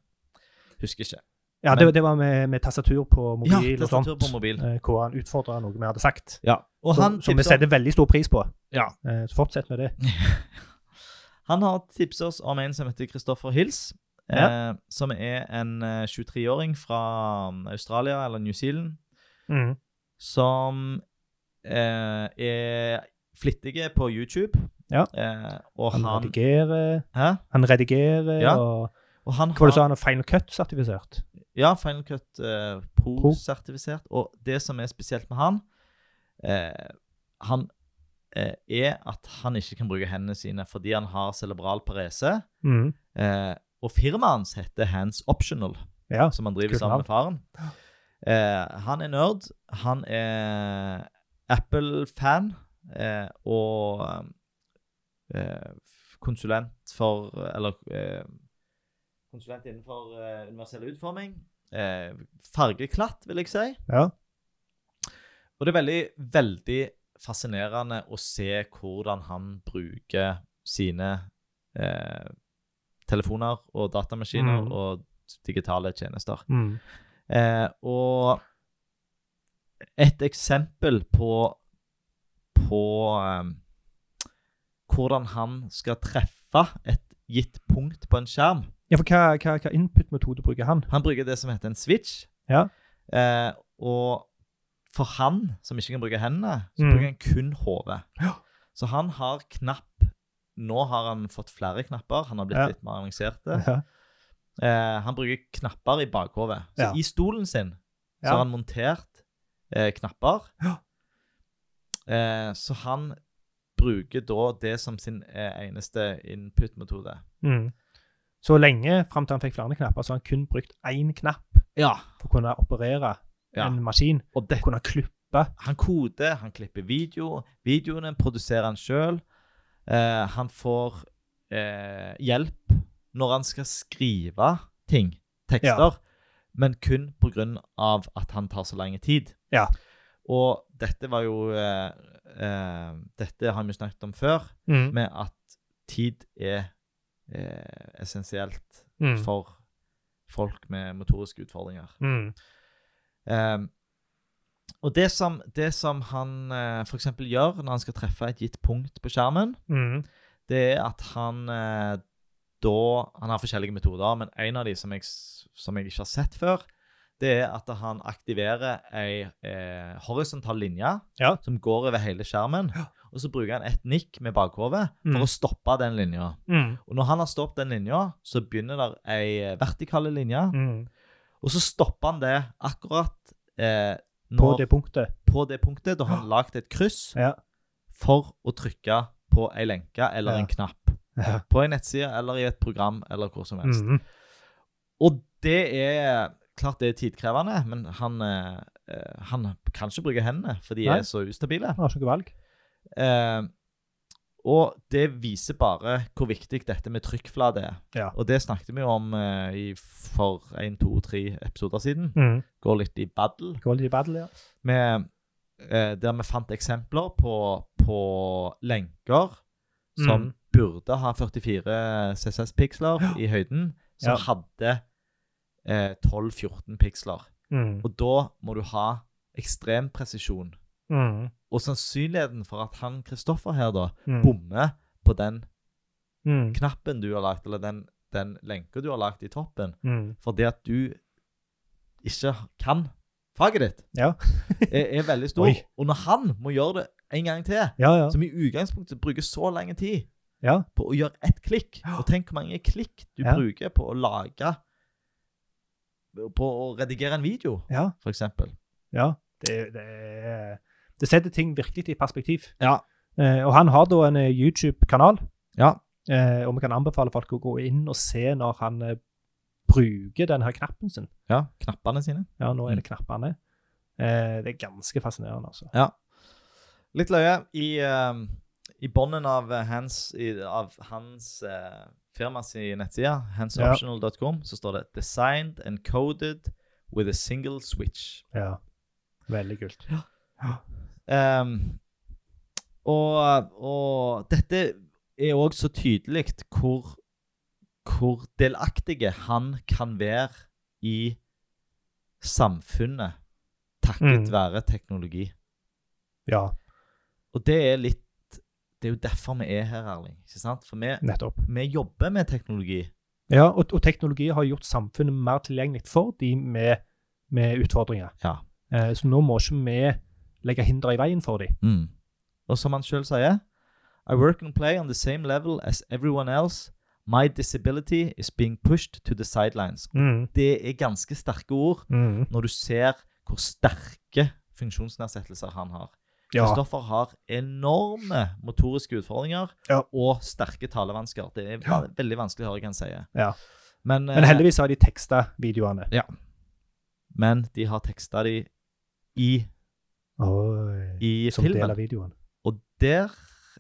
A: Husker ikke.
B: Ja,
A: Men-
B: det, det var med, med tastatur på mobil
A: ja,
B: og sånt.
A: tastatur på mobil.
B: eh, Hvor han utfordra noe vi hadde sagt,
A: Ja. Og
B: som,
A: han,
B: som vi
A: tipset-
B: setter veldig stor pris på.
A: Ja.
B: Eh, Så fortsett med det.
A: han har tipset oss om en som heter Christopher Hills. Eh, som er en eh, 23-åring fra um, Australia eller New Zealand.
B: Mm.
A: Som eh, er flittige på YouTube.
B: Ja.
A: Eh, og
B: Han
A: han
B: redigerer,
A: Hæ?
B: han redigerer
A: Ja.
B: og
A: Og han
B: Hva var det
A: har
B: du sa, han er Final Cut-sertifisert?
A: Ja, Final Cut eh,
B: Pro.
A: Pro-sertifisert. Og det som er spesielt med han, eh, han eh, er at han ikke kan bruke hendene sine fordi han har cerebral parese.
B: Mm.
A: Eh, og firmaet hans heter Hands Optional,
B: Ja.
A: som han driver
B: Kult
A: sammen med faren. Eh, han er nerd. Han er Apple-fan eh, og eh, konsulent for Eller eh, konsulent innenfor eh, universell utforming. Eh, fargeklatt, vil jeg si.
B: ja.
A: Og det er veldig, veldig fascinerende å se hvordan han bruker sine eh, telefoner og datamaskiner
B: Mm.
A: og digitale tjenester.
B: Mm.
A: Eh, og et eksempel på på eh, hvordan han skal treffe et gitt punkt på en skjerm.
B: Ja, for hva, hva, hva input-metode bruker han?
A: Han bruker det som heter en switch.
B: Ja.
A: Eh, og for han, som ikke kan bruke hendene, så
B: Mm.
A: bruker han kun hodet.
B: Ja.
A: Så han har knapp Nå har han fått flere knapper. Han har blitt
B: Ja.
A: litt mer avanserte.
B: Ja.
A: Eh, han bruker knapper i bakhodet. Så
B: Ja.
A: i stolen sin så
B: Ja.
A: har han montert eh, knapper.
B: Ja.
A: Eh, så han bruker da det som sin eh, eneste input-metode.
B: Mm. Så lenge, fram til han fikk flere knapper, så har han kun brukt én knapp
A: Ja.
B: for å kunne operere
A: Ja.
B: en maskin.
A: Og dette
B: Kunne klippe klipper.
A: Han koder, han klipper video. Videoene produserer han sjøl. Eh, han får eh, hjelp når han skal skrive ting, tekster, men kun pga. at han tar så lang tid.
B: Ja.
A: Og dette var jo eh, eh, Dette har vi jo snakket om før,
B: Mm.
A: med at tid er eh, essensielt
B: Mm.
A: for folk med motoriske utfordringer.
B: Mm.
A: Ehm, og det som, det som han eh, f.eks. gjør når han skal treffe et gitt punkt på skjermen,
B: Mm.
A: det er at han eh, da Han har forskjellige metoder, men en av de som jeg, s- som jeg ikke har sett før, det er at han aktiverer ei eh, horisontal linje
B: Ja.
A: som går over hele skjermen. Og så bruker han et nikk med bakhodet
B: Mm.
A: for å stoppe den linja.
B: Mm.
A: Og når han har stoppet den linja, så begynner der ei vertikale linje,
B: Mm.
A: og så stopper han det akkurat eh,
B: På
A: når
B: det punktet.
A: på det punktet. Da har han lagd et kryss
B: Ja.
A: for å trykke på ei lenke eller
B: Ja.
A: en knapp.
B: Ja.
A: På ei nettside eller i et program eller hvor som helst.
B: Mm.
A: Og det er klart det er tidkrevende, men han, eh, eh, han kan ikke bruke hendene, for de
B: Nei.
A: er så ustabile.
B: Har ikke noe valg.
A: Eh, og det viser bare hvor viktig dette med trykkflate er.
B: Ja.
A: Og det snakket vi jo om eh, i, for én, to, tre episoder siden.
B: Mm.
A: Går litt i battle.
B: Goldie Battle, ja.
A: med, eh, der vi fant eksempler på, på lenker som
B: Mm.
A: burde ha 44 CSS-piksler i høyden, som
B: Ja.
A: hadde eh, 12-14 piksler.
B: Mm.
A: Og da må du ha ekstrem presisjon.
B: Mm.
A: Og sannsynligheten for at han Kristoffer her da
B: Mm.
A: bommer på den
B: Mm.
A: knappen du har lagt, eller den, den lenka du har lagt i toppen,
B: Mm.
A: fordi at du ikke kan faget ditt,
B: Ja.
A: er, er veldig stor.
B: Oi.
A: Og når han må gjøre det en gang til,
B: Ja, ja.
A: som i utgangspunktet bruker så lang tid
B: Ja.
A: på å gjøre ett klikk Og tenk hvor mange klikk du
B: Ja.
A: bruker på å lage På å redigere en video,
B: ja.
A: for eksempel.
B: ja. Det, det, er- det setter ting virkelig i perspektiv.
A: Ja.
B: Eh, og han har da en eh, YouTube-kanal,
A: Ja.
B: eh, og vi kan anbefale folk å gå inn og se når han eh, bruker denne her knappen sin.
A: ja. Knappene sine.
B: Ja, nå er
A: Mm.
B: det knappene. Eh, det er ganske fascinerende, altså.
A: Ja. Litt løye. I, eh, i bånden av eh, hans, i, av hans eh, firmas i nettside, handsoptional.com, så står det 'Designed and coded with a single switch'.
B: Ja. Veldig kult.
A: Ehm, og, og dette er òg så tydelig hvor, hvor delaktige han kan være i samfunnet takket
B: Mm.
A: være teknologi.
B: Ja,
A: Og det er litt Det er jo derfor vi er her, Erling. ikke sant? For vi,
B: nettopp.
A: vi jobber med teknologi.
B: Ja, og, og teknologi har gjort samfunnet mer tilgjengelig for de med, med utfordringer.
A: Ja.
B: Eh, så nå må ikke vi legge hindre i veien for de.
A: Og som han sjøl sier I work and play on the same level as everyone else. My disability is being pushed to the sidelines. Det er ganske sterke ord
B: Mm.
A: når du ser hvor sterke funksjonsnedsettelser han har.
B: Ja.
A: Kristoffer har enorme motoriske utfordringer
B: Ja.
A: og sterke talevansker. Det er
B: Ja.
A: ve- veldig vanskelig å høre hva han sier.
B: Ja.
A: Men,
B: Men
A: eh,
B: heldigvis har de teksta videoene.
A: men de har teksta de i,
B: Oi.
A: i
B: Som del
A: filmen.
B: av videoen.
A: Og der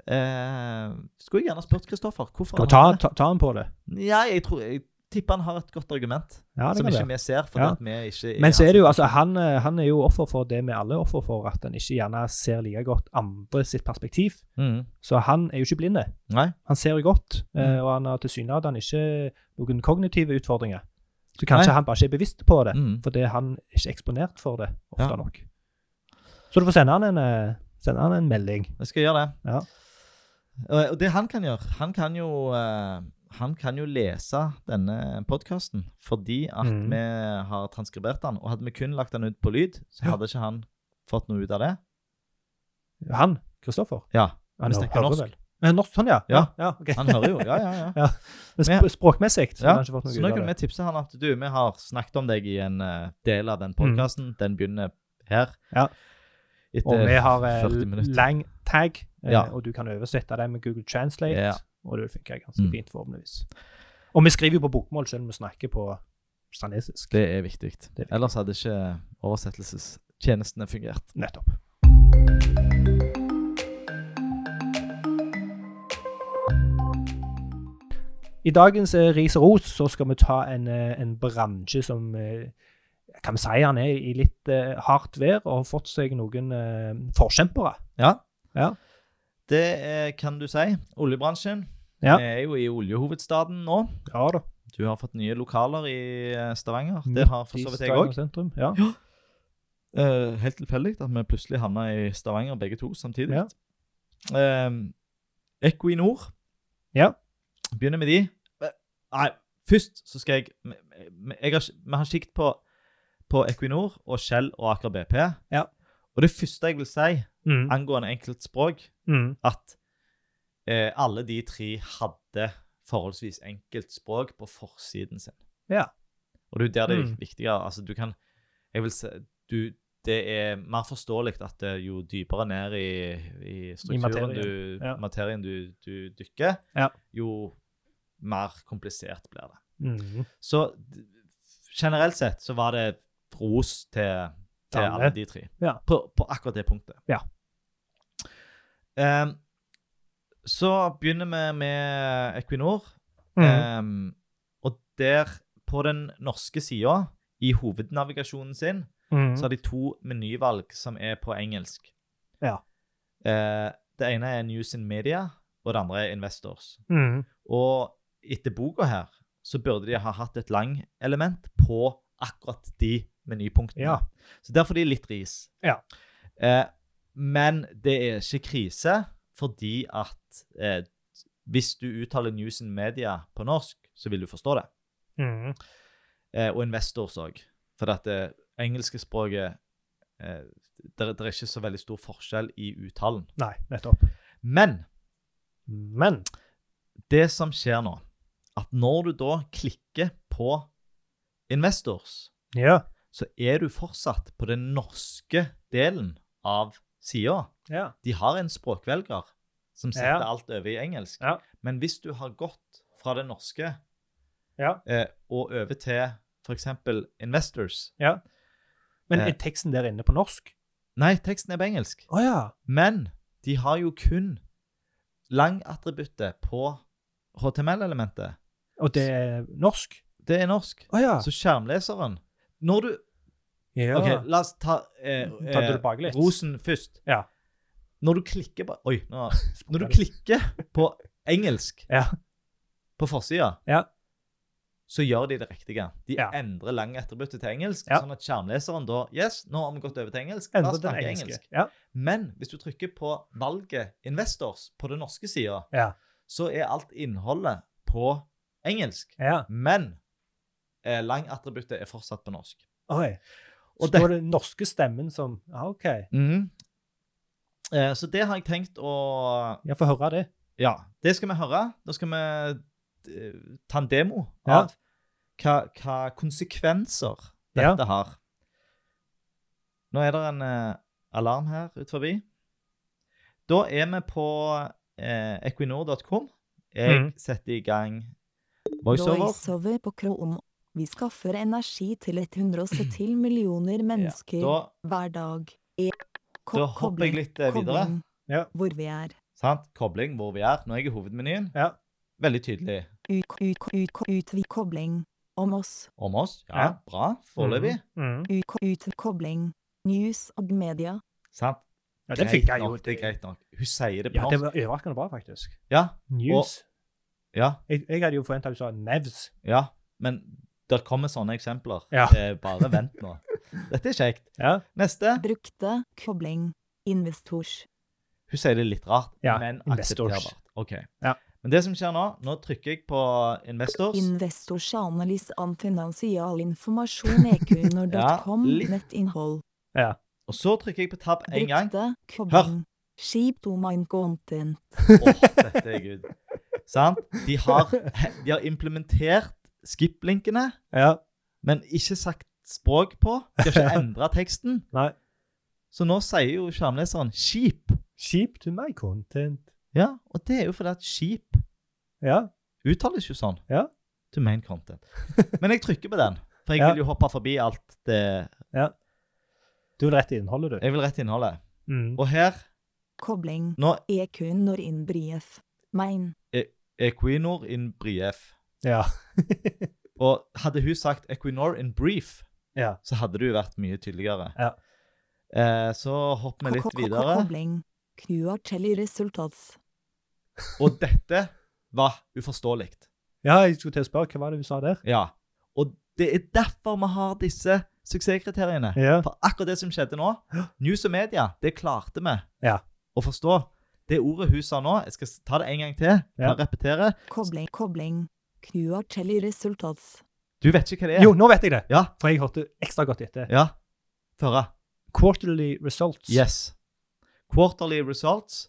A: eh, skulle jeg gjerne spurt Kristoffer hvorfor
B: Skal
A: han
B: vi ta,
A: har det.
B: ta, ta den på det?
A: Ja, jeg, tror, jeg tipper han har et godt argument
B: Ja, det
A: som
B: kan
A: ikke
B: være.
A: vi ser. fordi
B: Ja.
A: at vi ikke
B: Men så er det jo, altså, han, eh, han er jo offer for det vi alle er offer for, at han ikke gjerne ser like godt andre sitt perspektiv.
A: Mhm.
B: Så han er jo ikke blinde.
A: Nei.
B: Han ser jo godt, eh, og han har tilsynelatende ikke noen kognitive utfordringer. Så kanskje
A: Nei.
B: han bare ikke er bevisst på det,
A: Mhm.
B: fordi han er ikke eksponert for det ofte
A: Ja.
B: nok. Så du får sende han en, eh, sende han en melding.
A: Jeg skal gjøre det. Eh,
B: Ja.
A: Og- Og det han kan gjøre Han kan jo, eh, han kan jo lese denne podkasten fordi at
B: Mm.
A: vi har transkribert den. Og hadde vi kun lagt den ut på lyd, så
B: Ja.
A: hadde ikke han fått noe ut av det.
B: Han, Kristoffer,
A: Ja,
B: han
A: Hvis det ikke er
B: hører
A: norsk.
B: vel. Eh, Norsk, sånn, ja.
A: Ja.
B: ja ok.
A: Han hører jo. Ja, ja, ja.
B: Men sp språkmessig så
A: Ja,
B: har han ikke fått
A: Så
B: noe
A: nå
B: ut
A: kan
B: av
A: vi
B: det.
A: tipse han at du, vi har snakket om deg i en eh, del av den podkasten. Den begynner her.
B: Mm. Ja. Og
A: Etter
B: vi har eh,
A: 40 minutter.
B: lang tag, eh,
A: Ja.
B: og du kan oversette det med Google Translate,
A: Ja.
B: og det funker ganske
A: Mm.
B: fint forhåpentligvis. Og vi skriver jo på bokmål, selv om vi snakker på stanesisk.
A: Det er viktig.
B: Det er viktig.
A: Ellers hadde ikke oversettelsestjenestene fungert.
B: Nettopp. I dagens eh, ris og ros så skal vi ta en, eh, en bransje som eh, kan vi si han er i litt eh, hardt vær og har fått seg noen eh, forkjempere.
A: Ja.
B: Ja.
A: Det eh, kan du si. Oljebransjen.
B: Ja.
A: Vi er jo i oljehovedstaden nå.
B: Ja da.
A: Du har fått nye lokaler i eh, Stavanger.
B: Midt
A: Det har for så vidt jeg òg.
B: Mm. Sentrum. Ja.
A: Eh, helt tilfeldig at vi plutselig havna i Stavanger begge to samtidig.
B: Ja.
A: Eh, Equinor.
B: Ja.
A: Begynner med de. Eh, Nei, først så skal jeg Jeg har, Vi har kikket på, på Equinor og Shell og Aker BP.
B: Ja.
A: Og det første jeg vil si
B: Mm.
A: angående enkeltspråk,
B: Mm.
A: at eh, alle de tre hadde forholdsvis enkelt språk på forsiden sin.
B: Ja.
A: Og det er jo der det er
B: Mm.
A: viktige. Altså, du kan Jeg vil si du, Det er mer forståelig at eh, jo dypere ned i, i strukturen
B: materien,
A: du,
B: ja.
A: materien du, du dykker,
B: Ja.
A: jo mer komplisert blir det.
B: Mm.
A: Så d- generelt sett så var det ros til, til
B: Alle.
A: alle de tre.
B: Ja.
A: På, på akkurat det punktet.
B: Ja.
A: Ehm, så begynner vi med Equinor.
B: Mm.
A: Ehm, og der, på den norske sida, i hovednavigasjonen sin,
B: Mm.
A: så har de to menyvalg som er på engelsk.
B: Ja.
A: Eh, det ene er News and Media, og det andre er Investors.
B: Mm.
A: Og etter boka her så burde de ha hatt et lang-element på akkurat de menypunktene.
B: Ja.
A: Så der får de litt ris.
B: Ja.
A: Eh, men det er ikke krise, fordi at eh, hvis du uttaler news in media på norsk, så vil du forstå det.
B: Mm.
A: Eh, og investors òg. For at det engelske språket eh, det, det er ikke så veldig stor forskjell i uttalen.
B: Nei, nettopp.
A: Men
B: Men
A: det som skjer nå, at når du da klikker på investors,
B: ja.
A: så er du fortsatt på den norske delen av sida.
B: ja.
A: De har en språkvelger som setter
B: Ja.
A: alt over i engelsk.
B: Ja.
A: Men hvis du har gått fra det norske
B: Ja.
A: eh, og over til f.eks. investors
B: Men
A: Eh.
B: er teksten der inne på norsk?
A: Nei, teksten er på engelsk.
B: Å ja.
A: Men de har jo kun langattributtet på HTML-elementet.
B: Og det er norsk?
A: Det er norsk.
B: Å ja.
A: Så skjermleseren Når du
B: ja.
A: OK, la oss ta, eh,
B: Ta det tilbake litt.
A: rosen først.
B: Ja.
A: Når du klikker på Oi. Nå, når du klikker på engelsk
B: Ja.
A: på forsida,
B: Ja.
A: så gjør de det riktige. De
B: Ja.
A: endrer langattributtet til engelsk,
B: Ja.
A: sånn at skjermleseren da Yes, nå har vi gått over til engelsk. La
B: Endre
A: oss
B: den
A: snakke
B: engelske.
A: engelsk.
B: Ja.
A: Men hvis du trykker på valget Investors på den norske sida,
B: Ja.
A: så er alt innholdet på engelsk.
B: ja.
A: Men eh, langattributtet er fortsatt på norsk.
B: Oi.
A: Og
B: Og
A: det-
B: Står det norske stemmen som Ja, OK.
A: Mhm. Eh, så det har jeg tenkt å
B: Jeg får høre det.
A: Ja, det skal vi høre. Da skal vi eh, ta en demo
B: Ja.
A: av hva, hva konsekvenser
B: Ja.
A: dette har. Nå er det en eh, alarm her ut forbi. Da er vi på eh, equinor.com. Jeg
B: Mhm.
A: setter i gang voiceover.
C: Voiceover på Chrome. Vi skaffer energi til 170 millioner mennesker
A: Da,
C: hver dag. E ko
A: da hopper jeg litt eh, videre.
C: kobling,
B: Ja.
C: Hvor vi er.
A: Sant? Kobling, hvor vi er. Nå er jeg i hovedmenyen.
B: Ja.
A: Veldig tydelig
C: Ut, ut, ut, utvid kobling. Om oss.
A: om oss. Ja,
B: Ja.
A: bra. Foreløpig.
B: Mm.
C: Ut, ut, kobling. News og media.
A: Sant?
B: Ja, den
A: Greit
B: fikk jeg jo.
A: nok, Det er greit nok. Hun sier det på
B: Ja, det
A: norsk.
B: var overraskende bra, faktisk.
A: Ja,
B: News.
A: ja.
B: Jeg, jeg hadde jo forventa du sa nevs.
A: Ja, men der kommer sånne eksempler.
B: Ja.
A: Eh, bare vent nå. Dette er kjekt.
B: Ja.
A: Neste.
C: Brukte kobling. Investors.
A: Hun sier det litt rart,
B: Ja,
A: men
B: investors.
A: aksepterbart. Ok.
B: Ja.
A: Men det som skjer nå, nå trykker jeg på investors.
C: Investors analys an finansial informasjon E ekunor.com.
A: Ja, litt.
C: Nettinnhold.
A: og så trykker jeg på tab én gang.
C: Brukte kobling. Skip to mind content.
A: Åh, dette er good. Sant? De har, de har implementert skip-linkene,
B: Ja.
A: men ikke sagt språk på. De har ikke endra teksten.
B: Nei.
A: Så nå sier jo skjermleseren 'skip'.
B: Sheep to my content.
A: Ja, og det er jo fordi at skip
B: Ja.
A: uttales jo sånn.
B: Ja.
A: To main content. Men jeg trykker på den, for jeg
B: Ja.
A: vil jo hoppe forbi alt det
B: Du vil rett i innholdet, du.
A: Jeg vil rett til innholdet.
B: Mm.
A: Og her,
C: Kobling.
A: nå
C: EQ når in brief. Mein.
A: Equinor in brief.
B: Ja.
A: Og hadde hun sagt Equinor in brief,
B: Ja.
A: så hadde det jo vært mye tydeligere.
B: Ja.
A: Eh, så hopper vi litt videre.
C: Kobling. QRTL resultats.
A: Og dette var uforståelig.
B: ja, jeg skulle til å spørre, hva var det du sa der?
A: Ja. Og det er derfor vi har disse suksesskriteriene.
B: Ja.
A: For akkurat det som skjedde nå, news og media, det klarte vi
B: Ja.
A: å forstå. Det ordet hun sa nå, jeg skal ta det en gang til,
B: Ja.
A: bare repetere.
C: Kobling. Kobling. QRTL resultats.
A: Du vet ikke hva det er?
B: Jo, nå vet jeg det,
A: Ja.
B: for jeg hørte ekstra godt etter.
A: Ja. Føre.
B: Quarterly results.
A: Yes. Quarterly results.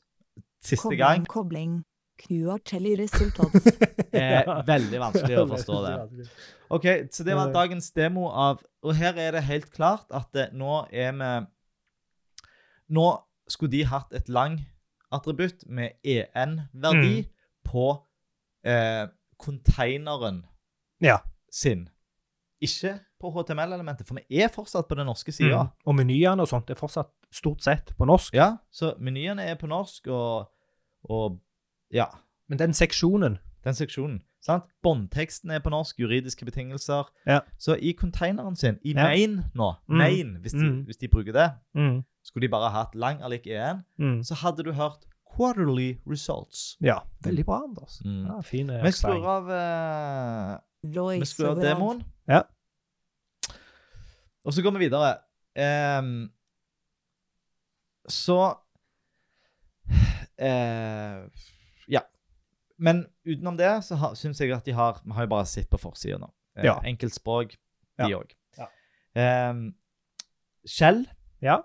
A: Siste gang.
C: Kobling. Kobling. QRTL resultats.
A: Eh, veldig vanskelig å forstå det. OK, så det var
B: Eh.
A: dagens demo av Og her er det helt klart at eh, nå er vi Nå skulle de hatt et lang-attributt med EN-verdi
B: Mm.
A: på eh, containeren
B: Ja.
A: sin. Ikke på HTML-elementet, for vi er fortsatt på den norske sida.
B: Mm. Og menyene og sånt er fortsatt stort sett på norsk.
A: Ja, så menyene er på norsk, og, og Ja.
B: Men den seksjonen
A: den seksjonen. sant? Båndteksten er på norsk, juridiske betingelser.
B: Ja.
A: Så i containeren sin, i
B: Ja.
A: main nå,
B: Mm.
A: main, hvis, de,
B: Mm.
A: hvis de bruker det,
B: mm.
A: skulle de bare hatt lang alik EN,
B: Mm.
A: så hadde du hørt quarterly results.
B: Ja. Veldig bra, Anders.
A: Mm.
B: Ja, fin eh,
A: Vi skrur
B: forklaring.
A: av, eh, vi
C: Royce
A: skrur av demoen.
B: Ja.
A: Og så går vi videre. Ehm, så eh, Ja. Men utenom det så har- syns jeg at de har Vi har jo bare sett på forsida nå. Eh,
B: Ja.
A: Enkeltspråk, de
B: Ja.
A: òg.
B: Ja.
A: Skjell
B: Ja.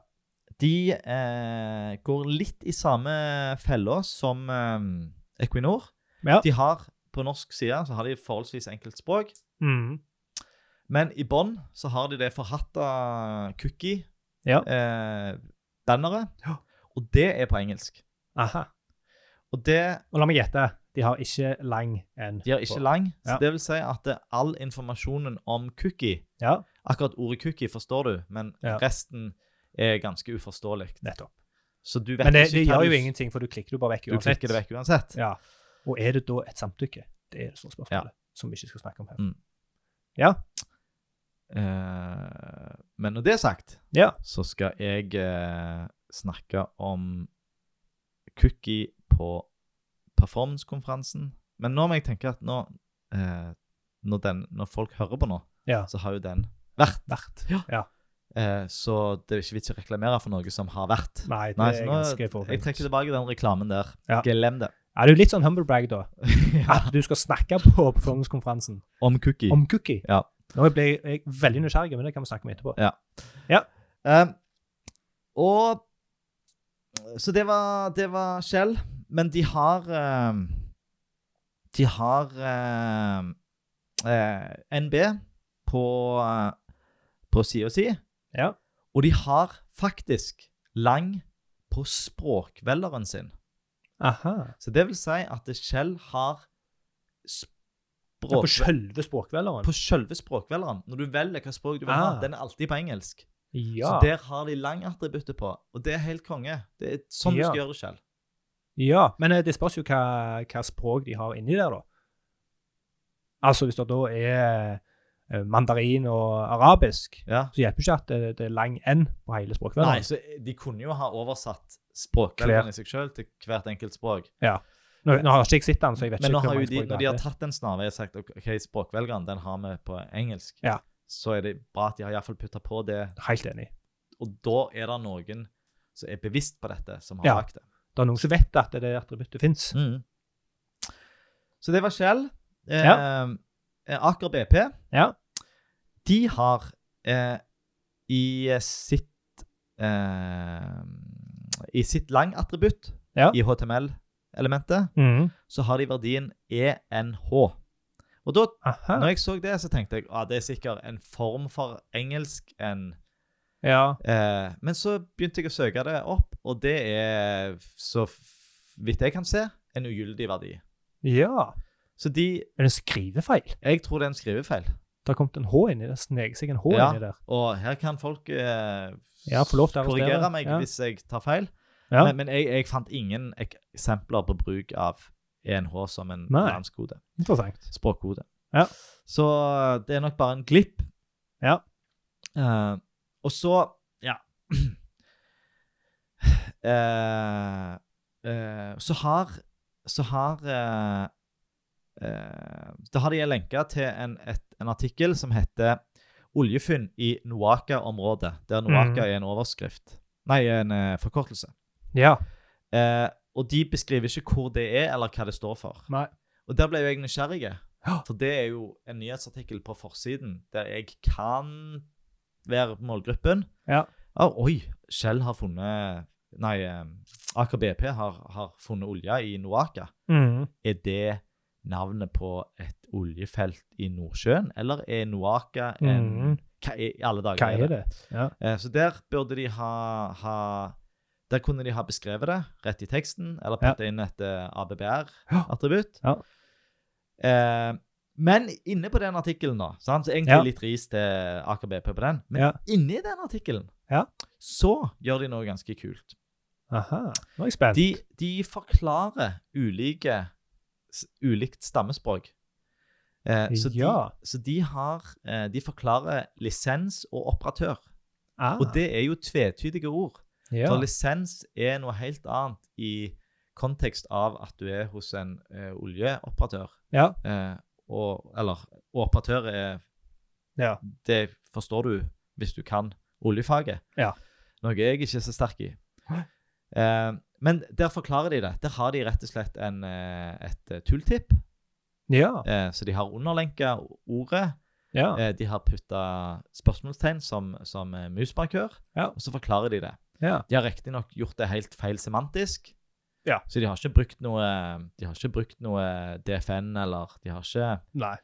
A: de eh, går litt i samme fella som eh, Equinor.
B: Ja.
A: De har På norsk side så har de forholdsvis enkelt språk.
B: Mm.
A: Men i bånn så har de det forhatta
B: Ja.
A: cookie-banneret.
B: Ja.
A: og det er på engelsk.
B: Aha.
A: Og det
B: Og la meg gjette, de har ikke lang enn.
A: de har ikke lang. Så
B: Ja.
A: det vil si at det, all informasjonen om cookie
B: Ja,
A: Akkurat ordet cookie forstår du, men
B: Ja.
A: resten er ganske uforståelig.
B: nettopp.
A: Så du vet
B: Men det,
A: ikke
B: det
A: hva
B: gjør
A: du-
B: jo ingenting, for du klikker jo bare vekk
A: Du
B: uansett.
A: klikker det vekk uansett.
B: Ja. Og er det da et samtykke? Det er det store spørsmålet,
A: Ja.
B: som vi ikke skal snakke om her.
A: Mm.
B: Ja.
A: Eh, men når det er sagt,
B: Ja.
A: så skal jeg eh, snakke om cookie på performancekonferansen. Men nå må jeg tenke at nå, eh, når, den, når folk hører på nå,
B: Ja.
A: så har jo den vært.
B: Verdt.
A: Eh, så det er ikke vits å reklamere for noe som har vært.
B: Nei, det
A: Nei,
B: er
A: så
B: ganske
A: nå, jeg
B: forfint.
A: trekker tilbake den reklamen der.
B: Ja.
A: Glem det.
B: Ja, det er jo litt sånn humblebrag, da.
A: Ja.
B: At du skal snakke på performancekonferansen
A: Om cookie.
B: om cookie.
A: Ja.
B: Nå ble jeg veldig nysgjerrig, men det kan vi snakke om etterpå.
A: Eh, og Så det var, det var Shell. Men de har eh, De har eh, eh, NB på, eh, på sida si.
B: Ja.
A: Og de har faktisk lang på språkvelgeren sin.
B: Aha.
A: Så det vil si at Shell har
B: Ja, på
A: språk...
B: selve språkvelgeren?
A: på selve språkvelgeren. Når du velger hva språk du vil
B: Ah.
A: ha, den er alltid på engelsk.
B: Ja.
A: Så der har de langattributtet på, og det er helt konge. Det er sånn
B: Ja.
A: du skal gjøre det selv.
B: ja. Men eh, det spørs jo hva, hva språk de har inni der, da. Altså, hvis det da er eh, mandarin og arabisk,
A: Ja.
B: så hjelper ikke at det, det er lang N på hele
A: Nei,
B: språkvelgeren.
A: så de kunne jo ha oversatt språkvelgeren i seg selv til hvert enkelt språk.
B: Nå, nå har ikke jeg sett den, så jeg vet
A: Men nå har
B: ikke hvor
A: jo
B: mange
A: de,
B: språk
A: når de
B: det
A: har
B: er.
A: tatt en snarvei og sagt ok, ok, språkvelgeren den har vi på engelsk,
B: Ja.
A: så er det bra at de har iallfall putta på det.
B: Helt enig.
A: Og da er det noen som er bevisst på dette, som har
B: Ja.
A: lagt det.
B: Det er noen som vet at det attributtet fins.
A: Mm. Så det var Shell. Eh, eh, Aker BP
B: Ja.
A: De har eh, i sitt eh, I sitt lang-attributt
B: Ja.
A: i HTML-elementet
B: Mhm.
A: så har de verdien ENH. Og da
B: Aha.
A: når jeg så det, så tenkte jeg at ah, det er sikkert en form for engelsk. En,
B: Ja.
A: eh, men så begynte jeg å søke det opp, og det er, så f- vidt jeg kan se, en ugyldig verdi.
B: ja.
A: Så de
B: Er det en skrivefeil?
A: Jeg tror det er en skrivefeil.
B: Det har kommet en H inni det. Sneker seg en H
A: Ja.
B: inni der.
A: Og her kan folk eh,
B: Ja, få lov til å arrestere.
A: korrigere meg
B: Ja.
A: hvis jeg tar feil.
B: Ja.
A: Men, men jeg, jeg fant ingen ek- eksempler på bruk av ENH som en
B: Nei.
A: landskode.
B: Interessant.
A: Språkkode.
B: Ja.
A: Så eh, det er nok bare en glipp.
B: Ja.
A: Eh, og så Ja. Eh, eh, så har Så har eh, eh, Da har de en lenke til en, et, en artikkel som heter 'Oljefynn i Noaka-området', der Noaka
B: Mm.
A: er en overskrift. Nei, en eh, forkortelse.
B: Ja.
A: Eh, og de beskriver ikke hvor det er, eller hva det står for.
B: Nei.
A: Og der ble jo jeg nysgjerrig.
B: Ja.
A: For det er jo en nyhetsartikkel på forsiden der jeg kan være målgruppen.
B: Ja.
A: Å, oi, Shell har funnet Nei, eh, Aker BP har, har funnet olje i Noaka.
B: Mm.
A: Er det navnet på et oljefelt i Nordsjøen, eller er Noaka en
B: Mm.
A: Hva i alle dager
B: Hva er det? Ja.
A: Eh, Så der burde de ha, ha Der kunne de ha beskrevet det rett i teksten, eller
B: Ja.
A: putta inn et eh,
B: Ja.
A: ABBR-attributt.
B: Ja.
A: Eh, men inne på den artikkelen, da sant? Så Egentlig
B: Ja.
A: litt ris til Aker BP på den, men
B: Ja.
A: inni den artikkelen
B: Ja.
A: så gjør de noe ganske kult.
B: Aha. Nå er jeg spent.
A: De, de forklarer ulike, s- ulikt stammespråk. Eh, så,
B: Ja.
A: de, så de har eh, De forklarer lisens og operatør.
B: ah.
A: Og det er jo tvetydige ord.
B: ja.
A: For lisens er noe helt annet i kontekst av at du er hos en eh, oljeoperatør.
B: Ja.
A: Eh, og, eller og operatør er
B: Ja.
A: Det forstår du hvis du kan oljefaget.
B: Ja.
A: Noe jeg ikke er så sterk i.
B: Nei.
A: Eh, men der forklarer de det. Der har de rett og slett en, eh, et eh, tooltip.
B: ja.
A: Eh, så de har underlenka ordet.
B: Ja.
A: Eh, de har putta spørsmålstegn som, som eh, musmarkør,
B: Ja.
A: og så forklarer de det.
B: Ja.
A: De har riktignok gjort det helt feil semantisk.
B: Ja.
A: Så de har ikke brukt noe de har ikke brukt noe DFN, eller de har ikke
B: Nei.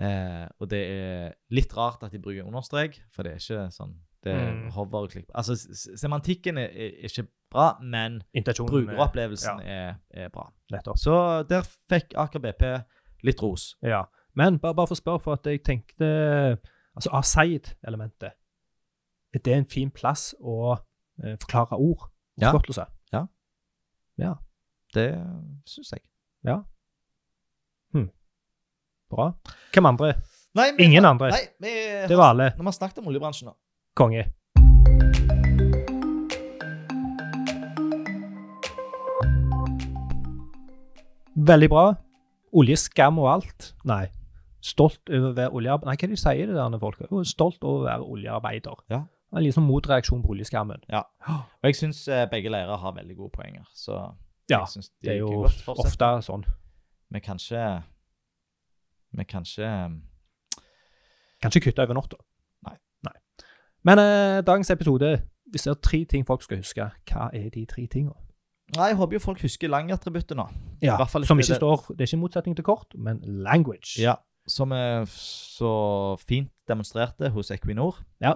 A: eh, Og det er litt rart at de bruker understrek, for det er ikke sånn det er
B: Mm.
A: hover og klikk Altså, s- s- semantikken er, er ikke bra, men
B: Intensjonen er-
A: brukeropplevelsen er, er bra.
B: Nettopp.
A: Så der fikk Aker BP litt ros.
B: Ja. Men bare, bare for å spørre, for at jeg tenkte Altså, Aseid-elementet Er det en fin plass å eh, forklare ord?
A: Ja.
B: Forkortelser?
A: Det syns jeg.
B: Bra. Hvem andre?
A: Nei, vi-
B: Ingen andre.
A: Nei, vi, har-
B: Det var alle.
A: Når vi har snakket om oljebransjen, nå.
B: Konge. Veldig bra. Oljeskam og alt. Nei. Stolt over å være oljearbeider. Nei, hva er det de sier det der når folk Jo, Stolt over å være oljearbeider.
A: Ja.
B: En liten sånn motreaksjon på oljeskammen.
A: Og jeg syns begge leirer har veldig gode poenger. Så
B: Ja,
A: jeg synes
B: Det er
A: kan
B: jo
A: godt fortsette.
B: ofte sånn.
A: Vi kan ikke Vi kan ikke eh,
B: Kan ikke kutte over natta.
A: Nei.
B: Men eh, dagens episode, hvis det er tre ting folk skal huske, hva er de tre tingene?
A: Nei, jeg håper jo folk husker langattributtet nå.
B: Ja,
A: I hvert fall
B: som
A: etter
B: ikke
A: det-
B: står Det er ikke motsetning til kort, men language.
A: Ja. Som er så fint demonstrerte hos Equinor.
B: Ja.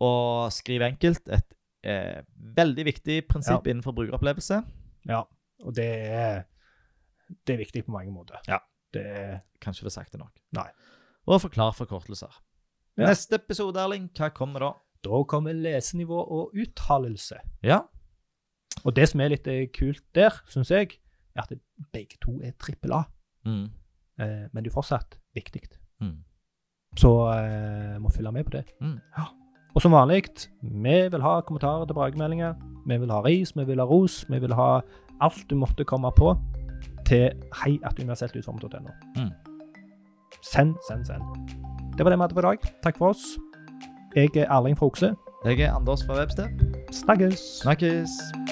A: Og skriv enkelt. Et eh, veldig viktig prinsipp innenfor brukeropplevelse.
B: Og det er, det er viktig på mange måter.
A: Ja.
B: Det er,
A: Kanskje vi har sagt det nok.
B: Nei.
A: Og forklar forkortelser.
B: Ja.
A: Neste episode, Erling, hva kommer da?
B: da kommer lesenivå og uttalelse.
A: Ja.
B: Og det som er litt eh, kult der, syns jeg, er at begge to er trippel A.
A: Mm.
B: Eh, men det er fortsatt viktig.
A: Mm.
B: Så eh, må følge med på det.
A: Mm.
B: Ja. Og som vanlig, vi vil ha kommentarer og tilbakemeldinger. Vi vil ha ris, vi vil ha ros, vi vil ha alt du måtte komme på til heiatuniverseltutformet.no.
A: Mm.
B: Send, send, send. Det var det vi hadde for i dag. Takk for oss. Jeg er Erling fra Okse.
A: Jeg er Anders fra Websted.
B: Snakkes!
A: Snakkes.